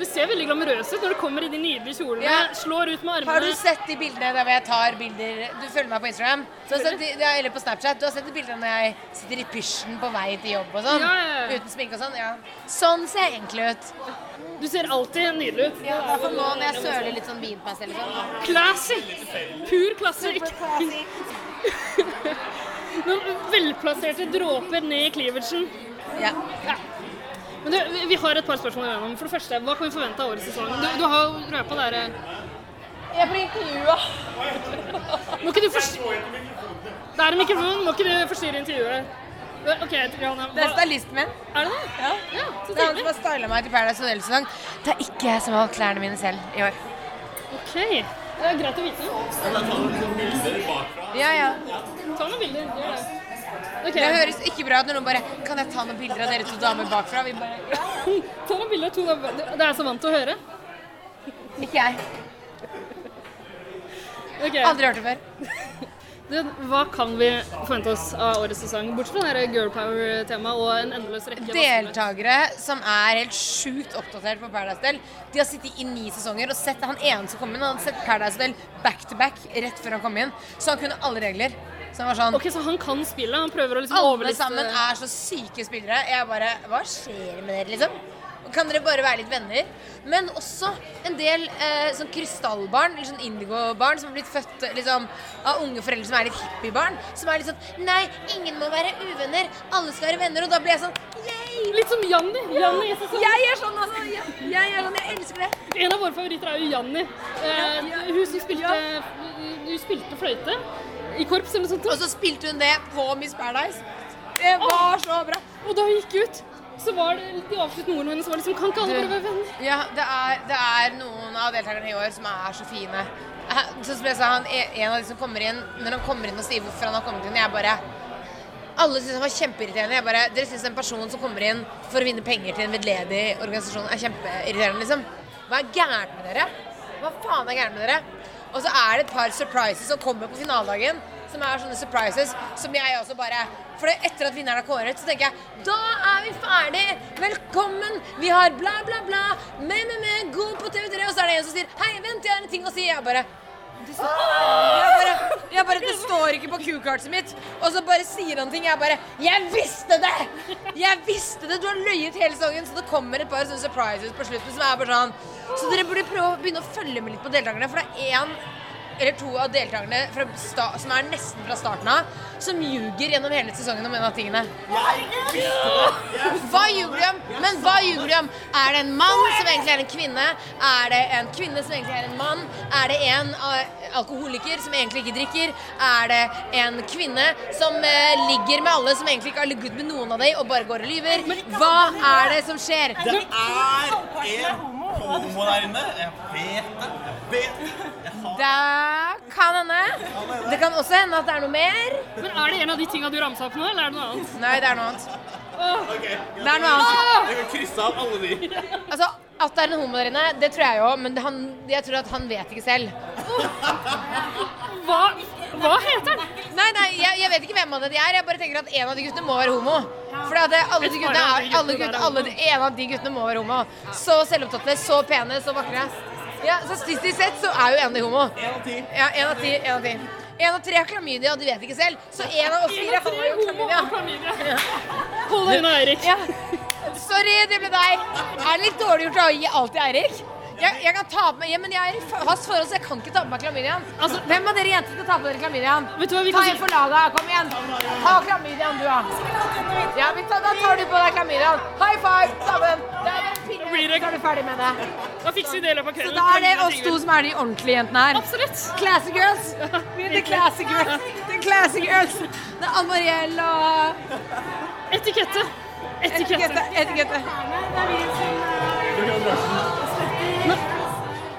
Speaker 1: Du ser veldig glamorøs ut når du kommer i de nydelige kjolene.
Speaker 2: Ja.
Speaker 1: Slår ut med armene.
Speaker 2: Har du sett de bildene der hvor jeg tar bilder Du følger meg på Instagram du har sett de, ja, eller på Snapchat. Du har sett de bildene når jeg sitter i pysjen på vei til jobb og sånn.
Speaker 1: Ja, ja, ja.
Speaker 2: Uten sminke og sånn. Ja. Sånn ser jeg egentlig ut.
Speaker 1: Du ser alltid nydelig ut.
Speaker 2: Ja, I hvert fall nå når jeg søler litt sånn vinpass eller sånn.
Speaker 1: Classy! Pur klasse. Noen velplasserte dråper ned i cleavagen.
Speaker 2: Ja.
Speaker 1: Men du, vi- vi har et par spørsmål igjennom. For det første, hva kan vi forvente av årets sesong? Du, du har jo røpa der eh.
Speaker 2: Jeg blir intervjua.
Speaker 1: Må ikke du forstyrre Det er en mikrofon. Må ikke du forstyrre intervjuet. OK, Triana.
Speaker 2: Det er
Speaker 1: hva-
Speaker 2: stylisten min.
Speaker 1: Er det det?
Speaker 2: Ja.
Speaker 1: Ja, så
Speaker 2: Det er han som
Speaker 1: trivelig.
Speaker 2: har styla meg til Paradise Hotel-sesong. Det er ikke jeg som har valgt klærne mine selv i år. altså-
Speaker 1: OK. Det er greit å vite.
Speaker 2: Ja, ja.
Speaker 1: Ta noen bilder. Gjør det. Ok.
Speaker 2: Det høres ikke bra ut når noen bare Kan jeg ta noen bilder av dere to damer bakfra? Vi bare
Speaker 1: Ta noen bilder av to damer. Det er jeg så vant til å høre.
Speaker 2: Ikke jeg.
Speaker 1: Ok.
Speaker 2: Aldri hørt det før.
Speaker 1: Du, hva kan vi forvente oss av årets sesong, bortsett fra det her girl power-temaet og en endeløs rekke
Speaker 2: Deltakere som er helt sjukt oppdatert på Paradise Del. De har sittet i ni sesonger og sett han ene som kom inn. Han hadde sett Paradise Del back to back rett før han kom inn. Så han kunne alle regler. Så han var sånn
Speaker 1: Ok, Så han kan spillet? Han prøver å liksom
Speaker 2: Alle
Speaker 1: overliste-
Speaker 2: sammen er så syke spillere. Jeg bare Hva skjer med dere, liksom? Kan dere bare være litt venner? Men også en del eh, sånn krystallbarn, eller sånn indigobarn, som har blitt født eh, liksom, av unge foreldre som er litt hippiebarn. Som er litt sånn Nei, ingen må være uvenner. Alle skal være venner. Og da blir jeg sånn Yay!
Speaker 1: Litt som Janni. Janni i sesong-
Speaker 2: Jeg er sånn, altså. Jeg, jeg er sånn. Jeg elsker det.
Speaker 1: En av våre favoritter er jo Janni. Eh, hun som spilte, hun spilte fløyte i korps eller noe sånt.
Speaker 2: Og så spilte hun det på Miss Paradise. Det var så bra.
Speaker 1: Og da hun gikk ut, så var det de avsluttende ordene hennes var liksom Kan ikke alle
Speaker 2: Du-
Speaker 1: bare være venner?
Speaker 2: Ja, det er, det er noen av deltakerne i år som er så fine. Eh, Så som jeg sa, han, er- en av de som kommer inn, når han kommer inn og sier hvorfor han har kommet inn, jeg bare Alle syns han var kjempeirriterende. Jeg bare Dere syns en person som kommer inn for å vinne penger til en veldedig organisasjon, er kjempeirriterende, liksom? Hva er gærent med dere? Hva faen er gærent med dere? Og så er det et par surprises som kommer på finaledagen, som er sånne surprises som jeg også bare For det- etter at vinneren er kåret, så tenker jeg Da er vi ferdig! Velkommen! Vi har bla, bla, bla! Me, me, me! Gå på TV3! Og så er det en som sier Hei, vent, jeg har en ting å si! Jeg bare det står- jeg bare, jeg bare, det står ikke på Q-kartet mitt. Og så bare sier han ting. Jeg bare Jeg visste det! Jeg visste det! Du har løyet hele sesongen. Så det kommer et par sånne surprises på slutten som er bare sånn Så dere burde prøve å begynne å følge med litt på deltakerne, for det er én eller to av deltakerne fra sta som er nesten fra starten av, som ljuger gjennom hele sesongen om en av tingene. Hva ljuger de om? Men hva ljuger de om? Er det en mann som egentlig er en kvinne? Er det en kvinne som egentlig er en mann? Er det en eh, alkoholiker som egentlig ikke drikker? Er det en kvinne som eh, ligger med alle som egentlig ikke har ligget med noen av dem, og bare går og lyver? Hva er det som skjer?
Speaker 4: Det er en homo der inne. Jeg vet det. Jeg vet det. Jeg har
Speaker 2: Det kan hende. Det kan også hende at det er noe mer.
Speaker 1: Men er det en av de tinga du ramsa opp nå, eller er det noe annet?
Speaker 2: Nei, det er noe annet.
Speaker 1: Åh,
Speaker 2: Det er noe annet.
Speaker 4: Jeg kan krysse av alle de.
Speaker 2: Altså, At det er en homo der inne, det tror jeg jo, men han, jeg tror at han vet ikke selv.
Speaker 1: hva, hva heter den?
Speaker 2: Nei, nei, jeg, jeg vet ikke hvem av det de er. Jeg bare tenker at en av de guttene må være homo. For det at alle de
Speaker 1: Et par
Speaker 2: guttene
Speaker 1: av de
Speaker 2: er alle
Speaker 1: guttene er
Speaker 2: guttene, alle, En av de guttene må være homo. Så selvopptatte, så pene, så vakre. Ja, Så statistisk sett så er jo en av de homo.
Speaker 4: En av ti.
Speaker 2: Ja, en av ti. En av ti. En av tre har klamydia, og de vet ikke selv. Så en av oss fire har jo klamydia.
Speaker 1: Hold deg unna Eirik.
Speaker 2: Ja. Sorry, det ble deg. Er det litt dårlig gjort å gi alt til Eirik? Jeg, jeg kan ta på meg, ja, men jeg er i fa- fast forhold, så jeg kan ikke ta på meg klamydiaen.
Speaker 1: Altså-
Speaker 2: Hvem av dere jenter skal ta på dere klamydiaen?
Speaker 1: Vet du hva vi
Speaker 2: Ta
Speaker 1: kan
Speaker 2: en
Speaker 1: si?
Speaker 2: for laga, kom igjen. Ta klamydiaen, du da. Ja, men ta, da tar du på deg klamydiaen. High five, sammen. Det er en pinne,
Speaker 1: blir det-
Speaker 2: så er du ferdig med det.
Speaker 1: Da fikser vi det i løpet av kvelden.
Speaker 2: Så da er det oss to som er de ordentlige jentene her.
Speaker 1: Absolutt.
Speaker 2: Classy girls. We're the classy girls. The classy girls. Det er Ann-Mariell og
Speaker 1: Etikette. Etikette.
Speaker 2: Etikette. Etikette.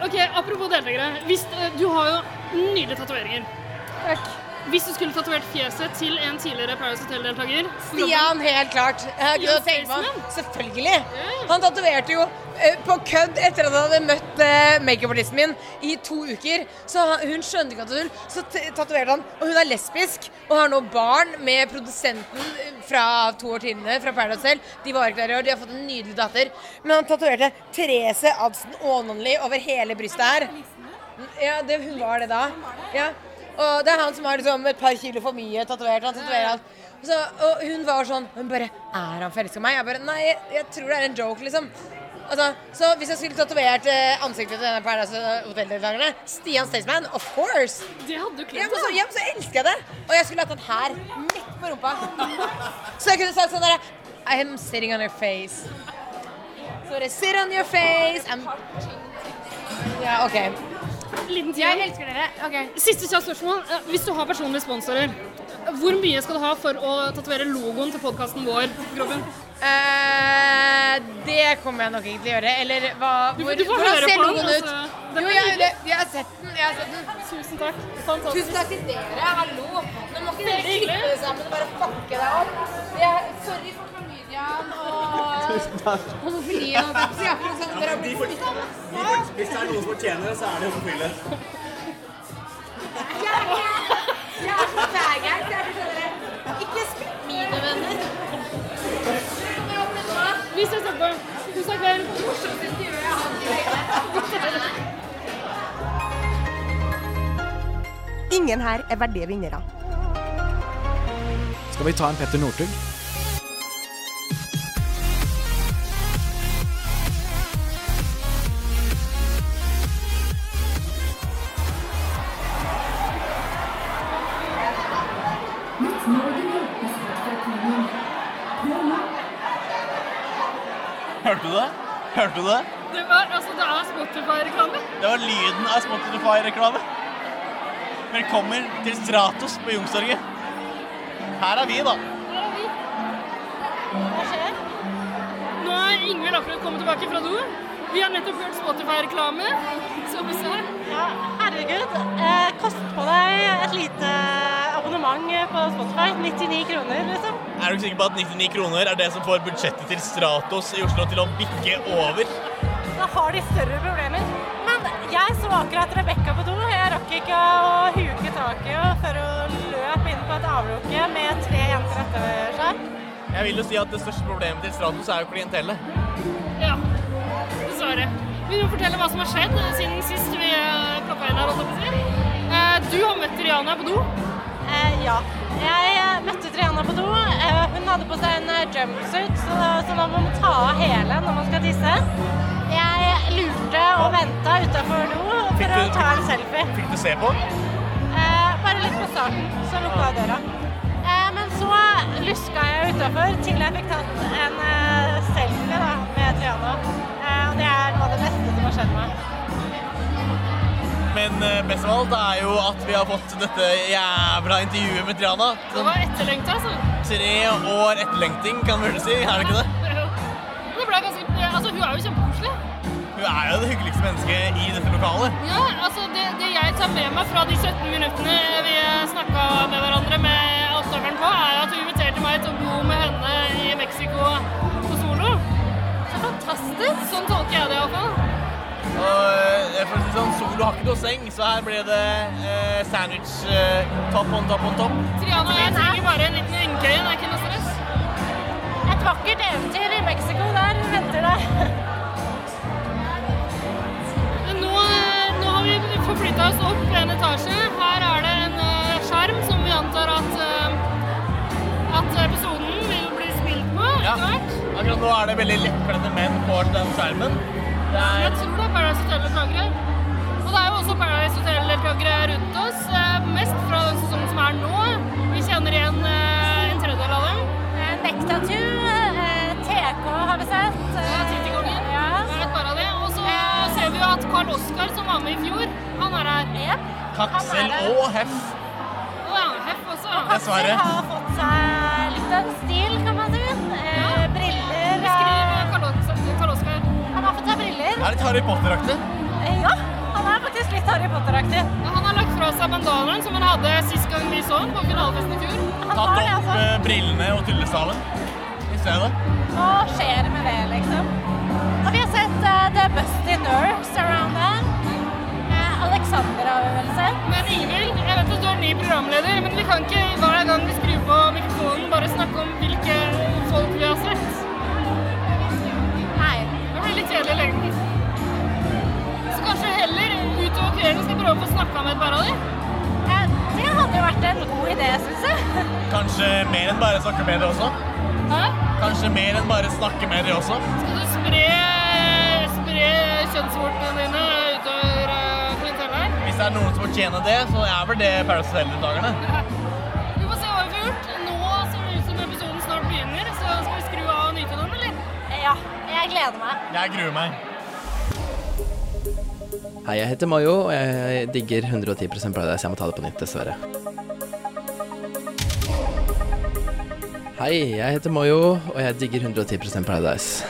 Speaker 1: Ok, Apropos deltakere. Hvis, eh, du har jo nydelige tatoveringer.
Speaker 2: Takk.
Speaker 1: Hvis du skulle tatovert fjeset til en tidligere Paradise Hotel-deltaker
Speaker 2: Stian, helt klart. Jeg har ikke noe å tenke på. Selvfølgelig. Han tatoverte jo eh, på kødd etter at han hadde møtt eh, makeupartisten min i to uker. Så han- hun skjønte ikke at det var tull. Så t- tatoverte han. Og hun er lesbisk og har nå barn med produsenten eh, fra to år tidligere, fra Paradise Hotel. De var ikke der i år. De har fått en nydelig datter. Men han tatoverte Therese Adsen Aanonli over hele brystet her. Ja, det, hun var det da. Ja. Og det er han som har liksom et par kilo for mye tatovert. Han tatoverer alt. Så, og hun var sånn Hun bare Er han forelska i meg? Jeg bare Nei, jeg, jeg tror det er en joke, liksom. Altså, så hvis jeg skulle tatovert eh, ansiktet til denne Paradise Hotel-deltakerne Stian Staysman, of course!
Speaker 1: Det hadde du
Speaker 2: Ja,
Speaker 1: kledd.
Speaker 2: men så,
Speaker 1: da.
Speaker 2: ja, men så elsker jeg det! Og jeg skulle hatt den her, midt på rumpa. Så jeg kunne sagt sånn derre I'm sitting on your face. Så det Sit on your face. I'm Ja, OK.
Speaker 1: Liten tid.
Speaker 2: Jeg elsker dere. OK.
Speaker 1: Siste kjapt spørsmål. Eh, Hvis du har personlige sponsorer, hvor mye skal du ha for å tatovere logoen til podkasten vår? Groven?
Speaker 2: Eh, det kommer jeg nok ikke til å gjøre. Eller hva
Speaker 1: Du-
Speaker 2: hvor,
Speaker 1: du får
Speaker 2: Hvordan
Speaker 1: høre
Speaker 2: ser
Speaker 1: på den,
Speaker 2: logoen ut?
Speaker 1: altså. Den
Speaker 2: Jo,
Speaker 1: er
Speaker 2: jeg,
Speaker 1: nydelig.
Speaker 2: jeg har sett den. Jeg har sett den.
Speaker 1: Tusen takk. Sånn, Fantastisk.
Speaker 2: Tusen takk til dere. Hallo. Nå må ikke dere
Speaker 1: Veldig
Speaker 2: klippe
Speaker 1: hyggelig.
Speaker 2: det sammen og bare fucke deg opp. Jeg, sorry for klamydiaen og homofilien og alt det der. Akkurat sånn dere har blitt smittet av. Ja.
Speaker 4: Hvis det er noen som fortjener det, så er det homofile.
Speaker 2: Jeg er så
Speaker 1: Tusen takk vel.
Speaker 11: Ingen her er verdige vinnere.
Speaker 12: Skal vi ta en Petter Northug?
Speaker 4: Hørte du det? Hørte du det?
Speaker 1: Det var altså det er Spotify-reklame.
Speaker 4: Det var lyden av Spotify-reklame. Velkommen til Stratos på Youngstorget. Her er vi, da.
Speaker 1: Hva skjer? Nå er Ingvild akkurat kommet tilbake fra do. Vi har nettopp hørt Spotify-reklame. Som vi sa.
Speaker 8: Ja, herregud. Eh, kost på deg et lite abonnement på Spotify. 99 kroner, liksom.
Speaker 4: Er du ikke sikker på at 99 kroner er det som får budsjettet til Stratos i Oslo til å bikke over?
Speaker 8: Da har de større problemer. Men jeg så akkurat Rebekka på do. Jeg rakk ikke å huke taket og før hun løp inn på et avlukke med tre jenter etter seg.
Speaker 4: Jeg vil jo si at det største problemet til Stratos er jo klientellet.
Speaker 1: Ja. Dessverre. Vil du fortelle hva som har skjedd siden sist vi plukka inn her? holdt jeg på å si? Eh, Du har møtt Rihanna på do.
Speaker 8: Eh, ja. Jeg eh, møtte Triana på do. Eh, hun hadde på seg en eh, jumpsuit, så, så man må ta av hele når man skal tisse. Jeg lurte og venta utafor do for å ta en selfie.
Speaker 4: Fikk du se på?
Speaker 8: Eh, bare litt på starten, så lukka jeg døra. Eh, men så luska jeg utafor til jeg fikk tatt en eh, selfie da, med Triana. Eh, og det er noe av det beste som har skjedd meg.
Speaker 4: Men eh, best av alt er jo at vi har fått dette jævla intervjuet med Triana.
Speaker 1: Det var etterlengta, altså.
Speaker 4: Tre år etterlengting, kan vi vel si. Er det ikke det?
Speaker 1: Og Det ble ganske, altså, hun er jo kjempekoselig.
Speaker 4: Hun er jo det hyggeligste mennesket i dette lokalet.
Speaker 1: Ja, altså det, det jeg tar med meg fra de 17 minuttene vi snakka med hverandre med avtakeren på, er at hun inviterte meg til å bo med henne i Mexico på solo. Så fantastisk! Sånn tolker jeg det iallfall.
Speaker 4: Og eh, for å si det sånn, Solo har ikke noe seng, så her ble det eh, sandwich eh, topp on topp on topp.
Speaker 1: Triana og jeg trenger bare en liten innkøye, det er ikke noe stress.
Speaker 8: Et vakkert eventyr i Mexico der venter deg.
Speaker 1: Men Nå, eh, nå har vi forflytta oss opp en etasje. Her er det en eh, skjerm som vi antar at, eh, at episoden vil bli spilt på
Speaker 4: Ja.
Speaker 1: etter hvert.
Speaker 4: Akkurat nå er det veldig lettkledde menn på den skjermen. Det
Speaker 1: Jeg
Speaker 4: er
Speaker 1: tror det er Paradise Hotel-deltakere. Og det er jo også Paradise Hotel-deltakere rundt oss. eh, Mest fra den sesongen som er nå. Vi kjenner igjen eh, en tredjedel av dem.
Speaker 8: Nektatu,
Speaker 12: eh,
Speaker 8: TK har vi sett.
Speaker 1: Ja, Tittikonger. Det er et par av de. Og så eh, ser vi jo at Karl Oskar, som var med i fjor, han er her.
Speaker 4: Kaksel og Heff.
Speaker 1: Og ja, Heff også.
Speaker 4: Dessverre.
Speaker 8: har fått seg litt av en stil, kan man si. Eh, briller
Speaker 12: eh,
Speaker 1: Beskriv Karl Oskar.
Speaker 8: Han har fått seg briller.
Speaker 4: Det er litt Harry Potter-aktig.
Speaker 8: Eh, Ja, han er faktisk litt Harry Potter-aktig.
Speaker 1: Han har lagt fra seg bandanaen som han hadde sist gang vi så han på finalefesten i fjor.
Speaker 4: Tatt opp
Speaker 8: altså.
Speaker 4: eh, brillene og tullestaven i stedet.
Speaker 8: Hva skjer med det, liksom? Og vi har sett eh, The Busty Nerves around there. Eh, Alexander har vi vel sett.
Speaker 1: Men Ingvild, jeg vet at du er ny programleder, men vi kan ikke hver gang vi skrur på mikrofonen bare snakke om hvilke folk vi har sett. Nei. Det blir litt kjedelig i lengden. Så kanskje heller utover kvelden skal prøve å få snakka med et par av dem?
Speaker 8: Det hadde jo vært en god idé, syns jeg.
Speaker 4: Kanskje mer enn bare snakke med dere også?
Speaker 1: Hæ?
Speaker 4: Kanskje mer enn bare snakke med dere også?
Speaker 1: Skal du spre, spre kjønnsvortene dine utover eh, klientellet her?
Speaker 4: Hvis det er noen som fortjener det, så er vel det Paradise Hotel-deltakerne.
Speaker 1: Vi får se hva vi får gjort. Nå ser det ut som episoden snart begynner, så skal vi skru av og nyte den, eller?
Speaker 8: Ja, jeg gleder meg.
Speaker 4: Jeg gruer meg.
Speaker 13: Hei, jeg heter Mayo, og jeg digger 110 Paradise. Jeg må ta det på nytt, dessverre. Hei, jeg heter Mayo, og jeg digger 110 Paradise.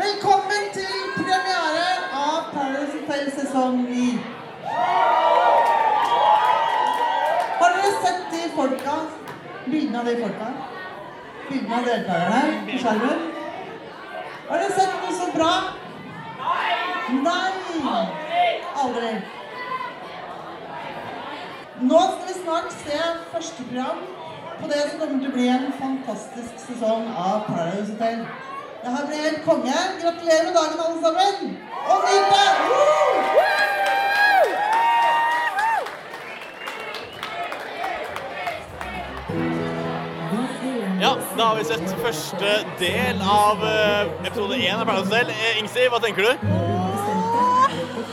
Speaker 14: Velkommen til premiere av Paradise Hotel sesong 9. Har dere sett de folka? Bildene av de folka? bilde av deltakerne på skjermen. Har dere sett noe så bra? Nei! Aldri. Nå skal vi snart se første program på det som kommer til å bli en fantastisk sesong av Paradise Hotel. Det her blir helt konge. Gratulerer med dagen, alle sammen! Og nyt det! Woo!
Speaker 4: Ja, da har vi sett første del av eh, episode én av Paradise Hotel. Eh, Ingsi, hva tenker du?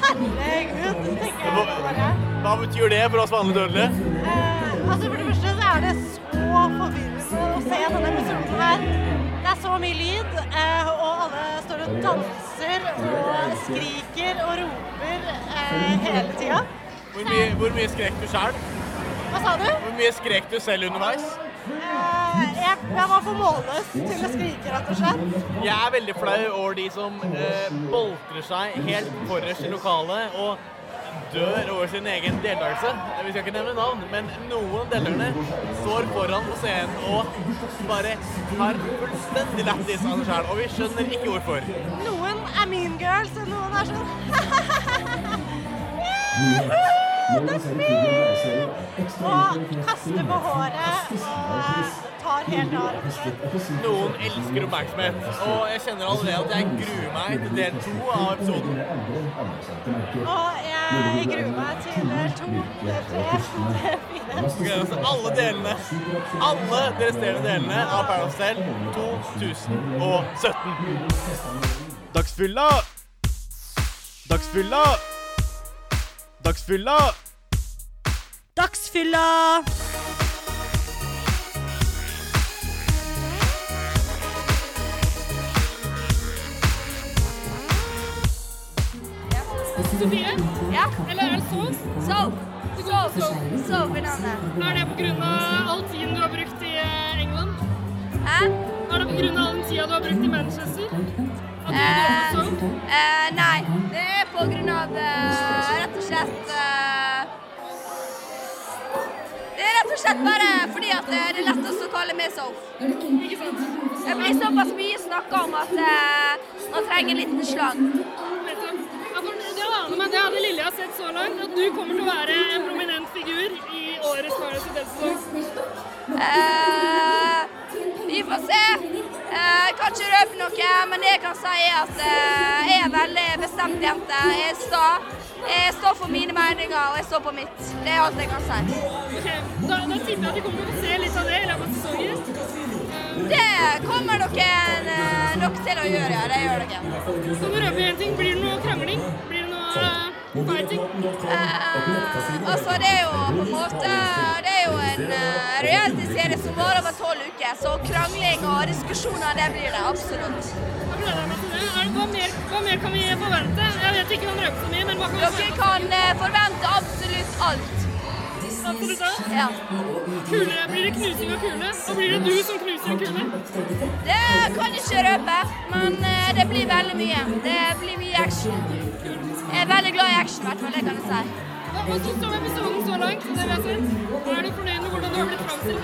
Speaker 8: Herregud, tenker jeg bare.
Speaker 4: Hva betyr det for oss vanlige dødelige?
Speaker 8: Altså For det første så er det så forvirrende å se denne episoden her. Det er så mye lyd, eh, og alle står og danser og skriker og roper eh, hele tida.
Speaker 4: Hvor mye, hvor mye skrek du sjøl?
Speaker 8: Hva sa du?
Speaker 4: Hvor mye skrek du selv underveis?
Speaker 8: Eh, Jeg, jeg var for målløs til å skrike, rett og slett.
Speaker 4: Jeg er veldig flau over de som eh, boltrer seg helt forrest i lokalet og dør over sin egen deltakelse. Vi skal ikke nevne navn, men noen deltakerne står foran på scenen og bare har fullstendig lættis av seg sjøl, og vi skjønner ikke hvorfor.
Speaker 8: Noen er mean girls, og noen er sånn Og kaster på håret og eh, tar helt av. rett og slett.
Speaker 4: Noen elsker oppmerksomhet, og jeg kjenner allerede at jeg gruer meg til del to av episoden.
Speaker 8: Og jeg gruer meg til del to, del tre, del fire.
Speaker 4: Gleder oss til altså, alle delene. Alle de resterende delene av Paradise Hotel 2017.
Speaker 9: Dagsfylla! Dagsfylla! Dagsfylla!
Speaker 3: Dagsfylla!
Speaker 12: Sofie? Ja? Eller er det sov? Sov. Du går og sov. Sov i navnet.
Speaker 1: Er det pga. all tiden du har brukt i eh, England?
Speaker 12: Hæ?
Speaker 1: Er det pga. all den tida du har brukt i Manchester?
Speaker 12: Eh, eh, nei, det er på grunn av eh, rett og slett eh, Det er rett og slett bare fordi at eh, det er lettest å kalle meg Sof. Det blir såpass mye snakka om at eh, man trenger en liten slang.
Speaker 1: liksom. Det aner meg, det er det lille jeg har sett så langt, at du kommer til å være en prominent figur i årets Paradise Hotel-sesong.
Speaker 12: Eh, vi får se. Eh, jeg kan ikke røpe noe, men det jeg kan si er at eh, jeg er en veldig bestemt jente. Jeg er sta. Jeg står for mine meninger, og jeg står på mitt. Det er alt jeg kan si.
Speaker 1: Ok, Da, da tipper jeg at vi kommer til å se litt av det i løpet av sesongen.
Speaker 12: Det kommer dere eh, nok til å gjøre, ja. Det gjør dere.
Speaker 1: Så må du røpe en ting. Blir det noe krangling? Blir det noe eh, fighting?
Speaker 12: Eh, altså, det er jo på en måte Det er jo en uh, realityserie som varer over tolv uker, så krangling og diskusjoner, det blir det absolutt.
Speaker 1: Er det- Hva mer, hva mer kan vi forvente? Jeg vet ikke om han røpte så mye, men hva kan vi
Speaker 12: Dere kan eh, forvente absolutt alt.
Speaker 1: Absolutt alt?
Speaker 12: Ja.
Speaker 1: Kule, blir det knusing av kule? Og blir det du som knuser en kule?
Speaker 12: Det kan jeg ikke røpe, men eh, det blir veldig mye. Det blir mye action. Jeg er veldig glad i action, i hvert fall. Det kan jeg si.
Speaker 1: Hva hva syns du om episoden så langt? Det vet vi. Er du fornøyd med hvordan du har blitt framstilt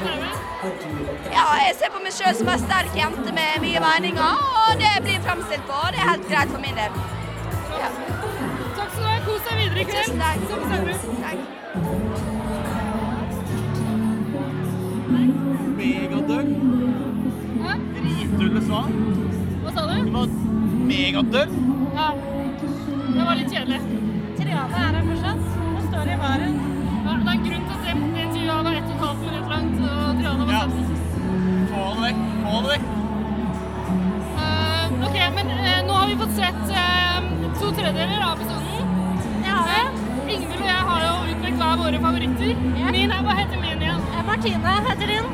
Speaker 1: på TV?
Speaker 12: Ja, jeg ser på meg sjøl som en sterk jente med mye meninger, og det blir fremstilt på, og det er helt greit for min del. Ja.
Speaker 1: Takk skal du ha. Kos deg videre i kveld.
Speaker 12: Tusen takk. Takk.
Speaker 4: Megadøll. Dritulle svar.
Speaker 1: Hva sa du?
Speaker 4: Megadøll.
Speaker 1: Ja. Det var litt kjedelig. Triane er her fortsatt. Hun står i baren. Ja, det er en grunn til å se på det intervjuet var ett og et halvt minutt langt, og Triane var satt.
Speaker 4: Få det vekk. Få det vekk.
Speaker 1: Eh, ok, men eh, nå har vi fått sett eh, to tredjedeler av episoden. Ja. Ingvild og jeg har jo utpekt hver våre favoritter. Min er, Hva heter min igjen?
Speaker 8: Eh, Martine heter din.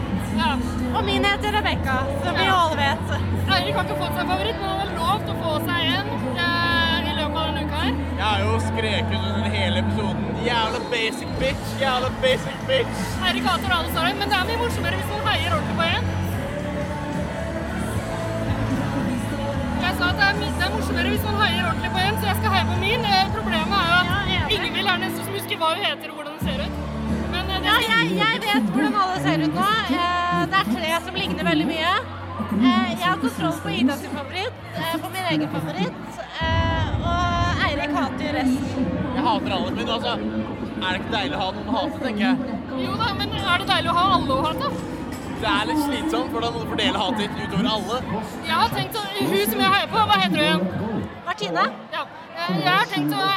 Speaker 8: Og min heter Rebekka, som vi
Speaker 1: Ja.
Speaker 8: alle vet.
Speaker 1: Eirik har ikke fått seg favoritt, men han har lovt å få seg en eh, i løpet av denne uka her.
Speaker 4: Jeg har jo skreket under hele episoden. Jævla basic bitch. Jævla basic bitch.
Speaker 1: Eirik hater alle sammen, men det er mye morsommere hvis man heier ordentlig på en. Jeg sa at det er, mye- det er morsommere hvis man heier ordentlig på en, så jeg skal heie på min. Eh, Problemet er jo at Ingvild er den eneste som husker hva hun heter og hvordan hun ser ut. Men eh, det
Speaker 8: Ja, jeg, jeg vet hvordan alle ser ut nå. Eh, Det er tre som ligner veldig, veldig mye. Eh, Jeg har kontroll på Ida sin favoritt, eh, på min egen favoritt, eh, og Eirik hater resten.
Speaker 4: Jeg hater alle, men altså Er det ikke deilig å ha noen å hate, tenker jeg?
Speaker 1: Jo da, men er det deilig å ha alle å hate?
Speaker 4: Det er litt slitsomt, for da må du fordele hatet ditt utover alle.
Speaker 1: Jeg har tenkt å Hun som jeg heier på, hva heter hun igjen?
Speaker 8: Martine?
Speaker 1: Ja. Eh, Jeg har tenkt å eh,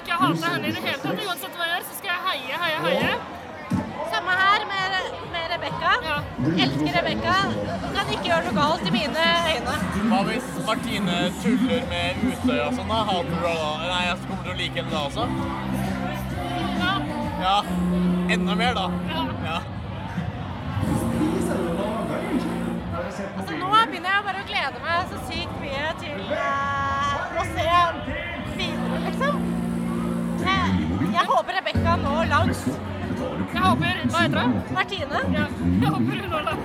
Speaker 1: ikke hate henne i det hele tatt. Uansett hva jeg gjør, så skal jeg heie, heie, heie.
Speaker 8: Samme her med, med Rebekka. Elsker Rebekka. Hun kan ikke gjøre noe galt i mine øyne.
Speaker 4: Hva hvis Martine tuller med Utøya og sånn, da? Hater du da? Nei, jeg kommer til å like henne da også. Ja. Enda mer, da. Ja.
Speaker 8: Altså, nå begynner jeg bare å glede meg så sykt mye til eh, å se videre, liksom. Jeg, Eh, jeg håper Rebekka når langt.
Speaker 1: Jeg håper Hva heter hun?
Speaker 8: Martine.
Speaker 1: Ja. Jeg håper hun når det.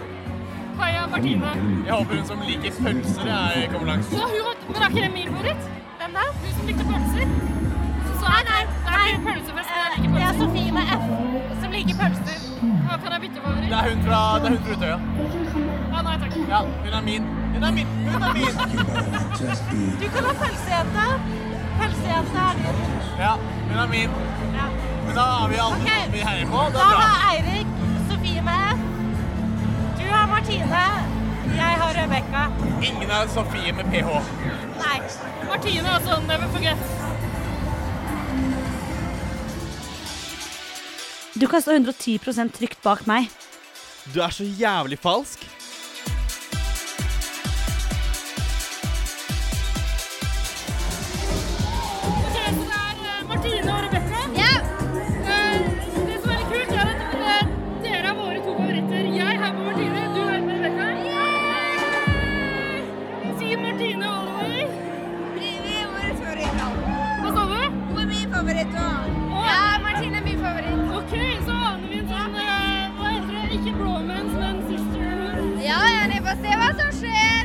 Speaker 1: Heia Martine.
Speaker 4: Jeg håper hun som liker pølser, jeg kommer langt.
Speaker 1: Så hun har, men er ikke det min favoritt?
Speaker 8: Hvem da?
Speaker 1: Hun som likte pølser. Så, så er nei, det er ikke pølsefest, men jeg liker pølser.
Speaker 8: Det er Eh, Sofie med F som liker pølser.
Speaker 1: Ja, kan jeg bytte favoritt?
Speaker 4: Det er hun fra, det er hun fra Utøya.
Speaker 1: Ja, nei takk.
Speaker 4: Ja, hun er min. Hun er min! Hun er min!
Speaker 8: Du kan ha pølsejenta. Pølsejenta er din.
Speaker 4: Ja, hun er min. Men da har vi alle
Speaker 8: Ok.
Speaker 4: vi heier på. Det
Speaker 8: Da
Speaker 4: er bra.
Speaker 8: har Eirik Sofie med F. Du har Martine. Jeg har Rebekka.
Speaker 4: Ingen er Sofie med ph.
Speaker 8: Nei.
Speaker 1: Martine er sånn never forget.
Speaker 15: Du kan stå 110 trygt bak meg.
Speaker 9: Du er så jævlig falsk.
Speaker 1: Ok, så det er eh, Martine og Rebekka. Eh, Det som er litt kult, er at eh, dere er våre to favoritter. Jeg heier på Martine, du heier på Rebekka. Yeah! Si Martine all the way. Hva sa du?
Speaker 12: Hun er min favoritt òg. Ja, Martine er min favoritt.
Speaker 1: Ok, så aner vi en sånn eh, Hva heter det? Ikke bromance, men sisterhood.
Speaker 12: Ja, ja, vi får se hva som skjer.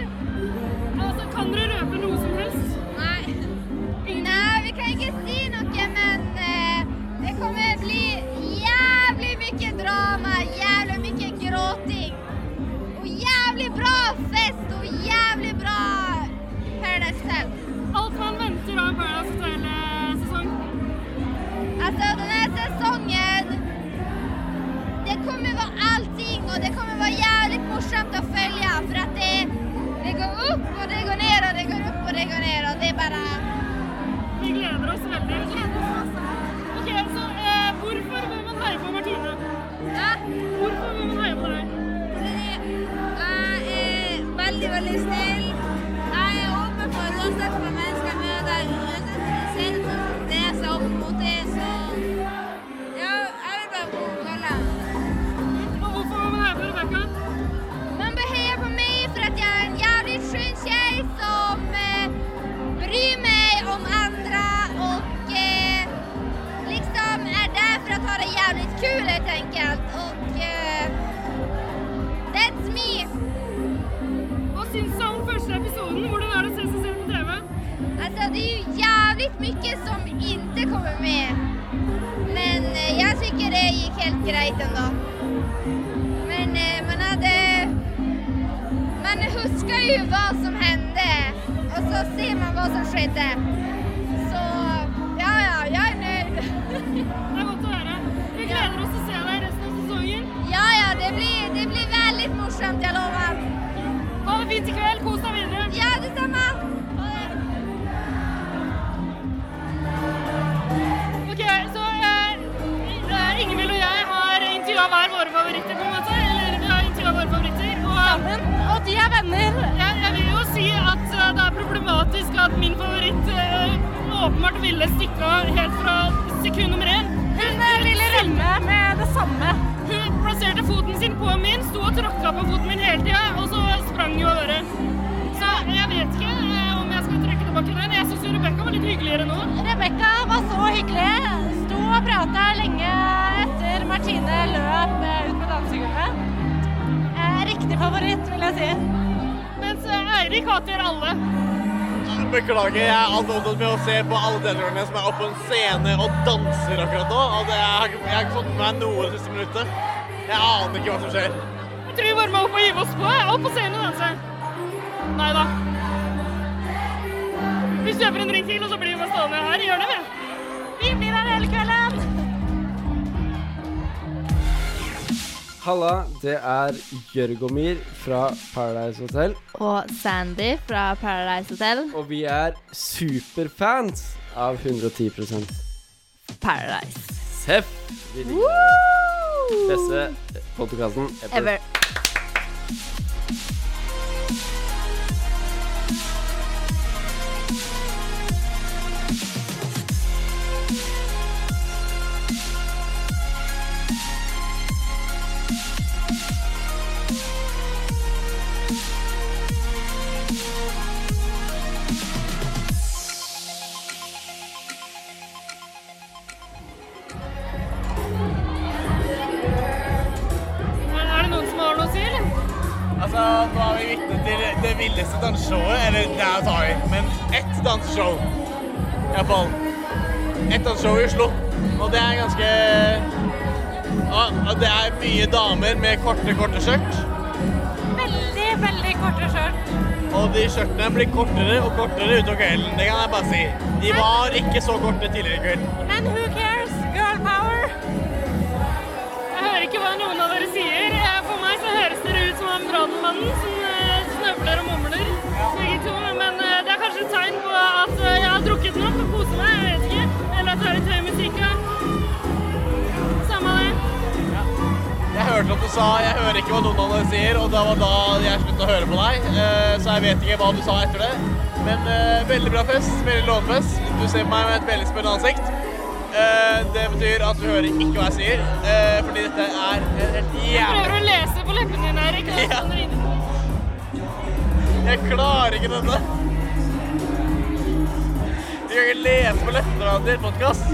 Speaker 1: Altså, kan dere røpe noe som helst?
Speaker 12: Nei. Nei, vi kan ikke si noe, men eh, det kommer bli jævlig mye drama, jævlig mye gråting. Og jævlig bra fest, og jævlig bra Paradise Hotel.
Speaker 1: Alt man venter av en Paradise eh, Hotel-sesong.
Speaker 12: Altså, denne sesongen Det kommer være allting, og det kommer være jævlig morsomt å følge. For at det, det går opp, og det går ned, og det går opp, og det går ned. Og det er bare
Speaker 1: Vi gleder oss veldig. Ok, så eh, hvorfor må man heie på Martine? Hvorfor må man heie på deg?
Speaker 12: Jeg er veldig, veldig snill. Jeg er åpen for uansett hva mennesker møter, uansett selv om det er så opp mot det, så Ja, jeg vil bare bo kalle.
Speaker 1: Hvorfor må man heie på Rebekka?
Speaker 12: Man bør heie på meg for at jeg er en jævlig skjønn kjei som eh, bryr meg om andre og eh, liksom er der for å ha det jævlig kule, tenker jeg. Og eh, that's me.
Speaker 1: Hva syns du om første episoden? Hvordan er det å se seg selv på TV?
Speaker 12: Altså, det er jo jævlig mye som ikke kommer med. Men eh, jeg syns det gikk helt greit ennå. Men eh, man hadde Man husker jo hva som hendte, og så ser man hva som skjedde. Så ja, ja, jeg er nøyd.
Speaker 1: Det er godt å høre. Vi gleder oss til å se deg resten av sesongen.
Speaker 12: Ja, ja, det blir, det blir veldig morsomt, jeg lover.
Speaker 1: Ha det fint i kveld. Kos deg videre.
Speaker 12: Ja, det samme.
Speaker 1: Ok, så eh, eh, Ingvild og jeg har intervjua hver våre favoritter, på en måte. Eller vi har intervjua våre favoritter. Og, Sammen.
Speaker 8: Og de er venner.
Speaker 1: Jeg, jeg vil jo si at eh, det er problematisk at min favoritt eh, åpenbart ville stikke av helt fra sekund nummer én. Hun eh, ville rømme med det samme. Hun plasserte foten sin på min, sto og tråkka på foten min hele tida, og så sprang hun av gårde. Så jeg vet ikke eh, om jeg skal trekke tilbake den. Jeg syns Rebekka var litt hyggeligere nå.
Speaker 8: Rebekka var så hyggelig. Sto og prata lenge etter Martine løp eh, ut på dansegulvet. Eh, Riktig favoritt, vil jeg si.
Speaker 1: Mens eh, Eirik hater alle.
Speaker 4: Beklager, jeg er anholdt med å se på alle deltakerne som er oppe på en scene og Altså, danser akkurat nå. Og det, jeg, har ikke- jeg har ikke fått med meg noe det siste minuttet. Jeg aner ikke hva som skjer.
Speaker 1: Vi tror vi varmer opp og hiver oss på. jeg. Opp på scenen altså. og danse. Nei da. Vi kjøper en drink til, og så blir vi bare stående her i hjørnet, vi. Vi blir her hele kvelden.
Speaker 16: Halla, det er Jørgomir fra Paradise Hotel.
Speaker 17: Og Sandy fra Paradise Hotel.
Speaker 16: Og vi er superfans av 110
Speaker 17: Paradise.
Speaker 16: Seff! Vi liker den beste podkasten ever.
Speaker 17: Ever.
Speaker 1: Er er det noen som har noe å si, eller?
Speaker 4: Altså, nå er vi vitne til det villeste danseshowet. Eller, det er å ta i, men ett danseshow. Iallfall. Ett danseshow i Oslo. Og det er ganske ja, og Det er mye damer med korte, korte skjørt.
Speaker 8: Veldig, veldig korte skjørt.
Speaker 4: Og de skjørtene blir kortere og kortere utover kvelden. Det kan jeg bare si. De var ikke så korte tidligere i kveld.
Speaker 8: Men who cares? Girl power.
Speaker 1: Jeg hører ikke hva noen av dere sier. Eh, For meg så høres dere ut som han brannmannen som eh, snøvler og mumler. Begge to. Men eh, det er kanskje et tegn på at eh, jeg har drukket nok og koser meg. Jeg vet ikke. Eller at det er litt høy musikk. Ja. Samme det.
Speaker 4: Jeg hørte at du sa 'jeg hører ikke hva noen av dere sier', og det var da jeg sluttet å høre på deg. Eh, Så jeg vet ikke hva du sa etter det. Men eh, veldig bra fest. Veldig lovende fest. Du ser på meg med et veldig spennende ansikt. Eh, Det betyr at du hører ikke hva jeg sier, eh, fordi dette er en
Speaker 1: Jeg
Speaker 4: helt
Speaker 1: prøver
Speaker 4: jævlig
Speaker 1: å lese på leppene dine, Erik. og sånn ringer det.
Speaker 4: Jeg klarer ikke denne. Du kan ikke lese på leppene av en podkast.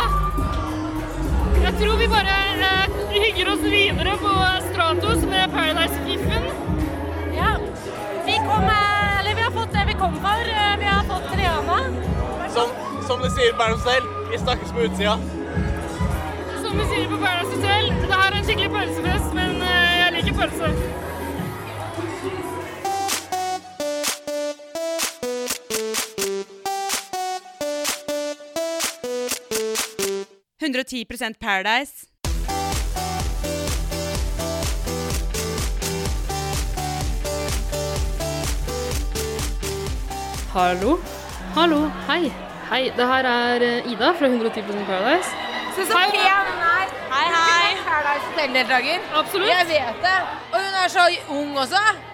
Speaker 1: Ah. Jeg tror vi bare eh, hygger oss videre på Stratos med Paradise-fiffen.
Speaker 8: Ja. Vi kom, eh, eller vi har fått det vi kom for. Eh, Vi har fått Triana.
Speaker 4: Som, som de sier på Bærum selv, vi snakkes på utsida.
Speaker 1: Som vi sier på Paradise Hotel, det her er en skikkelig pølsefest, men eh, jeg liker pølse.
Speaker 3: Paradise. 110 Paradise.
Speaker 1: Hallo. Hallo. Hei. Hei. Det her er eh, Ida fra 110 Paradise.
Speaker 2: Se så pen hun er. Hei, hei. Paradise Hotel-deltaker.
Speaker 1: Absolutt.
Speaker 2: Jeg vet det. Og hun er så ung også.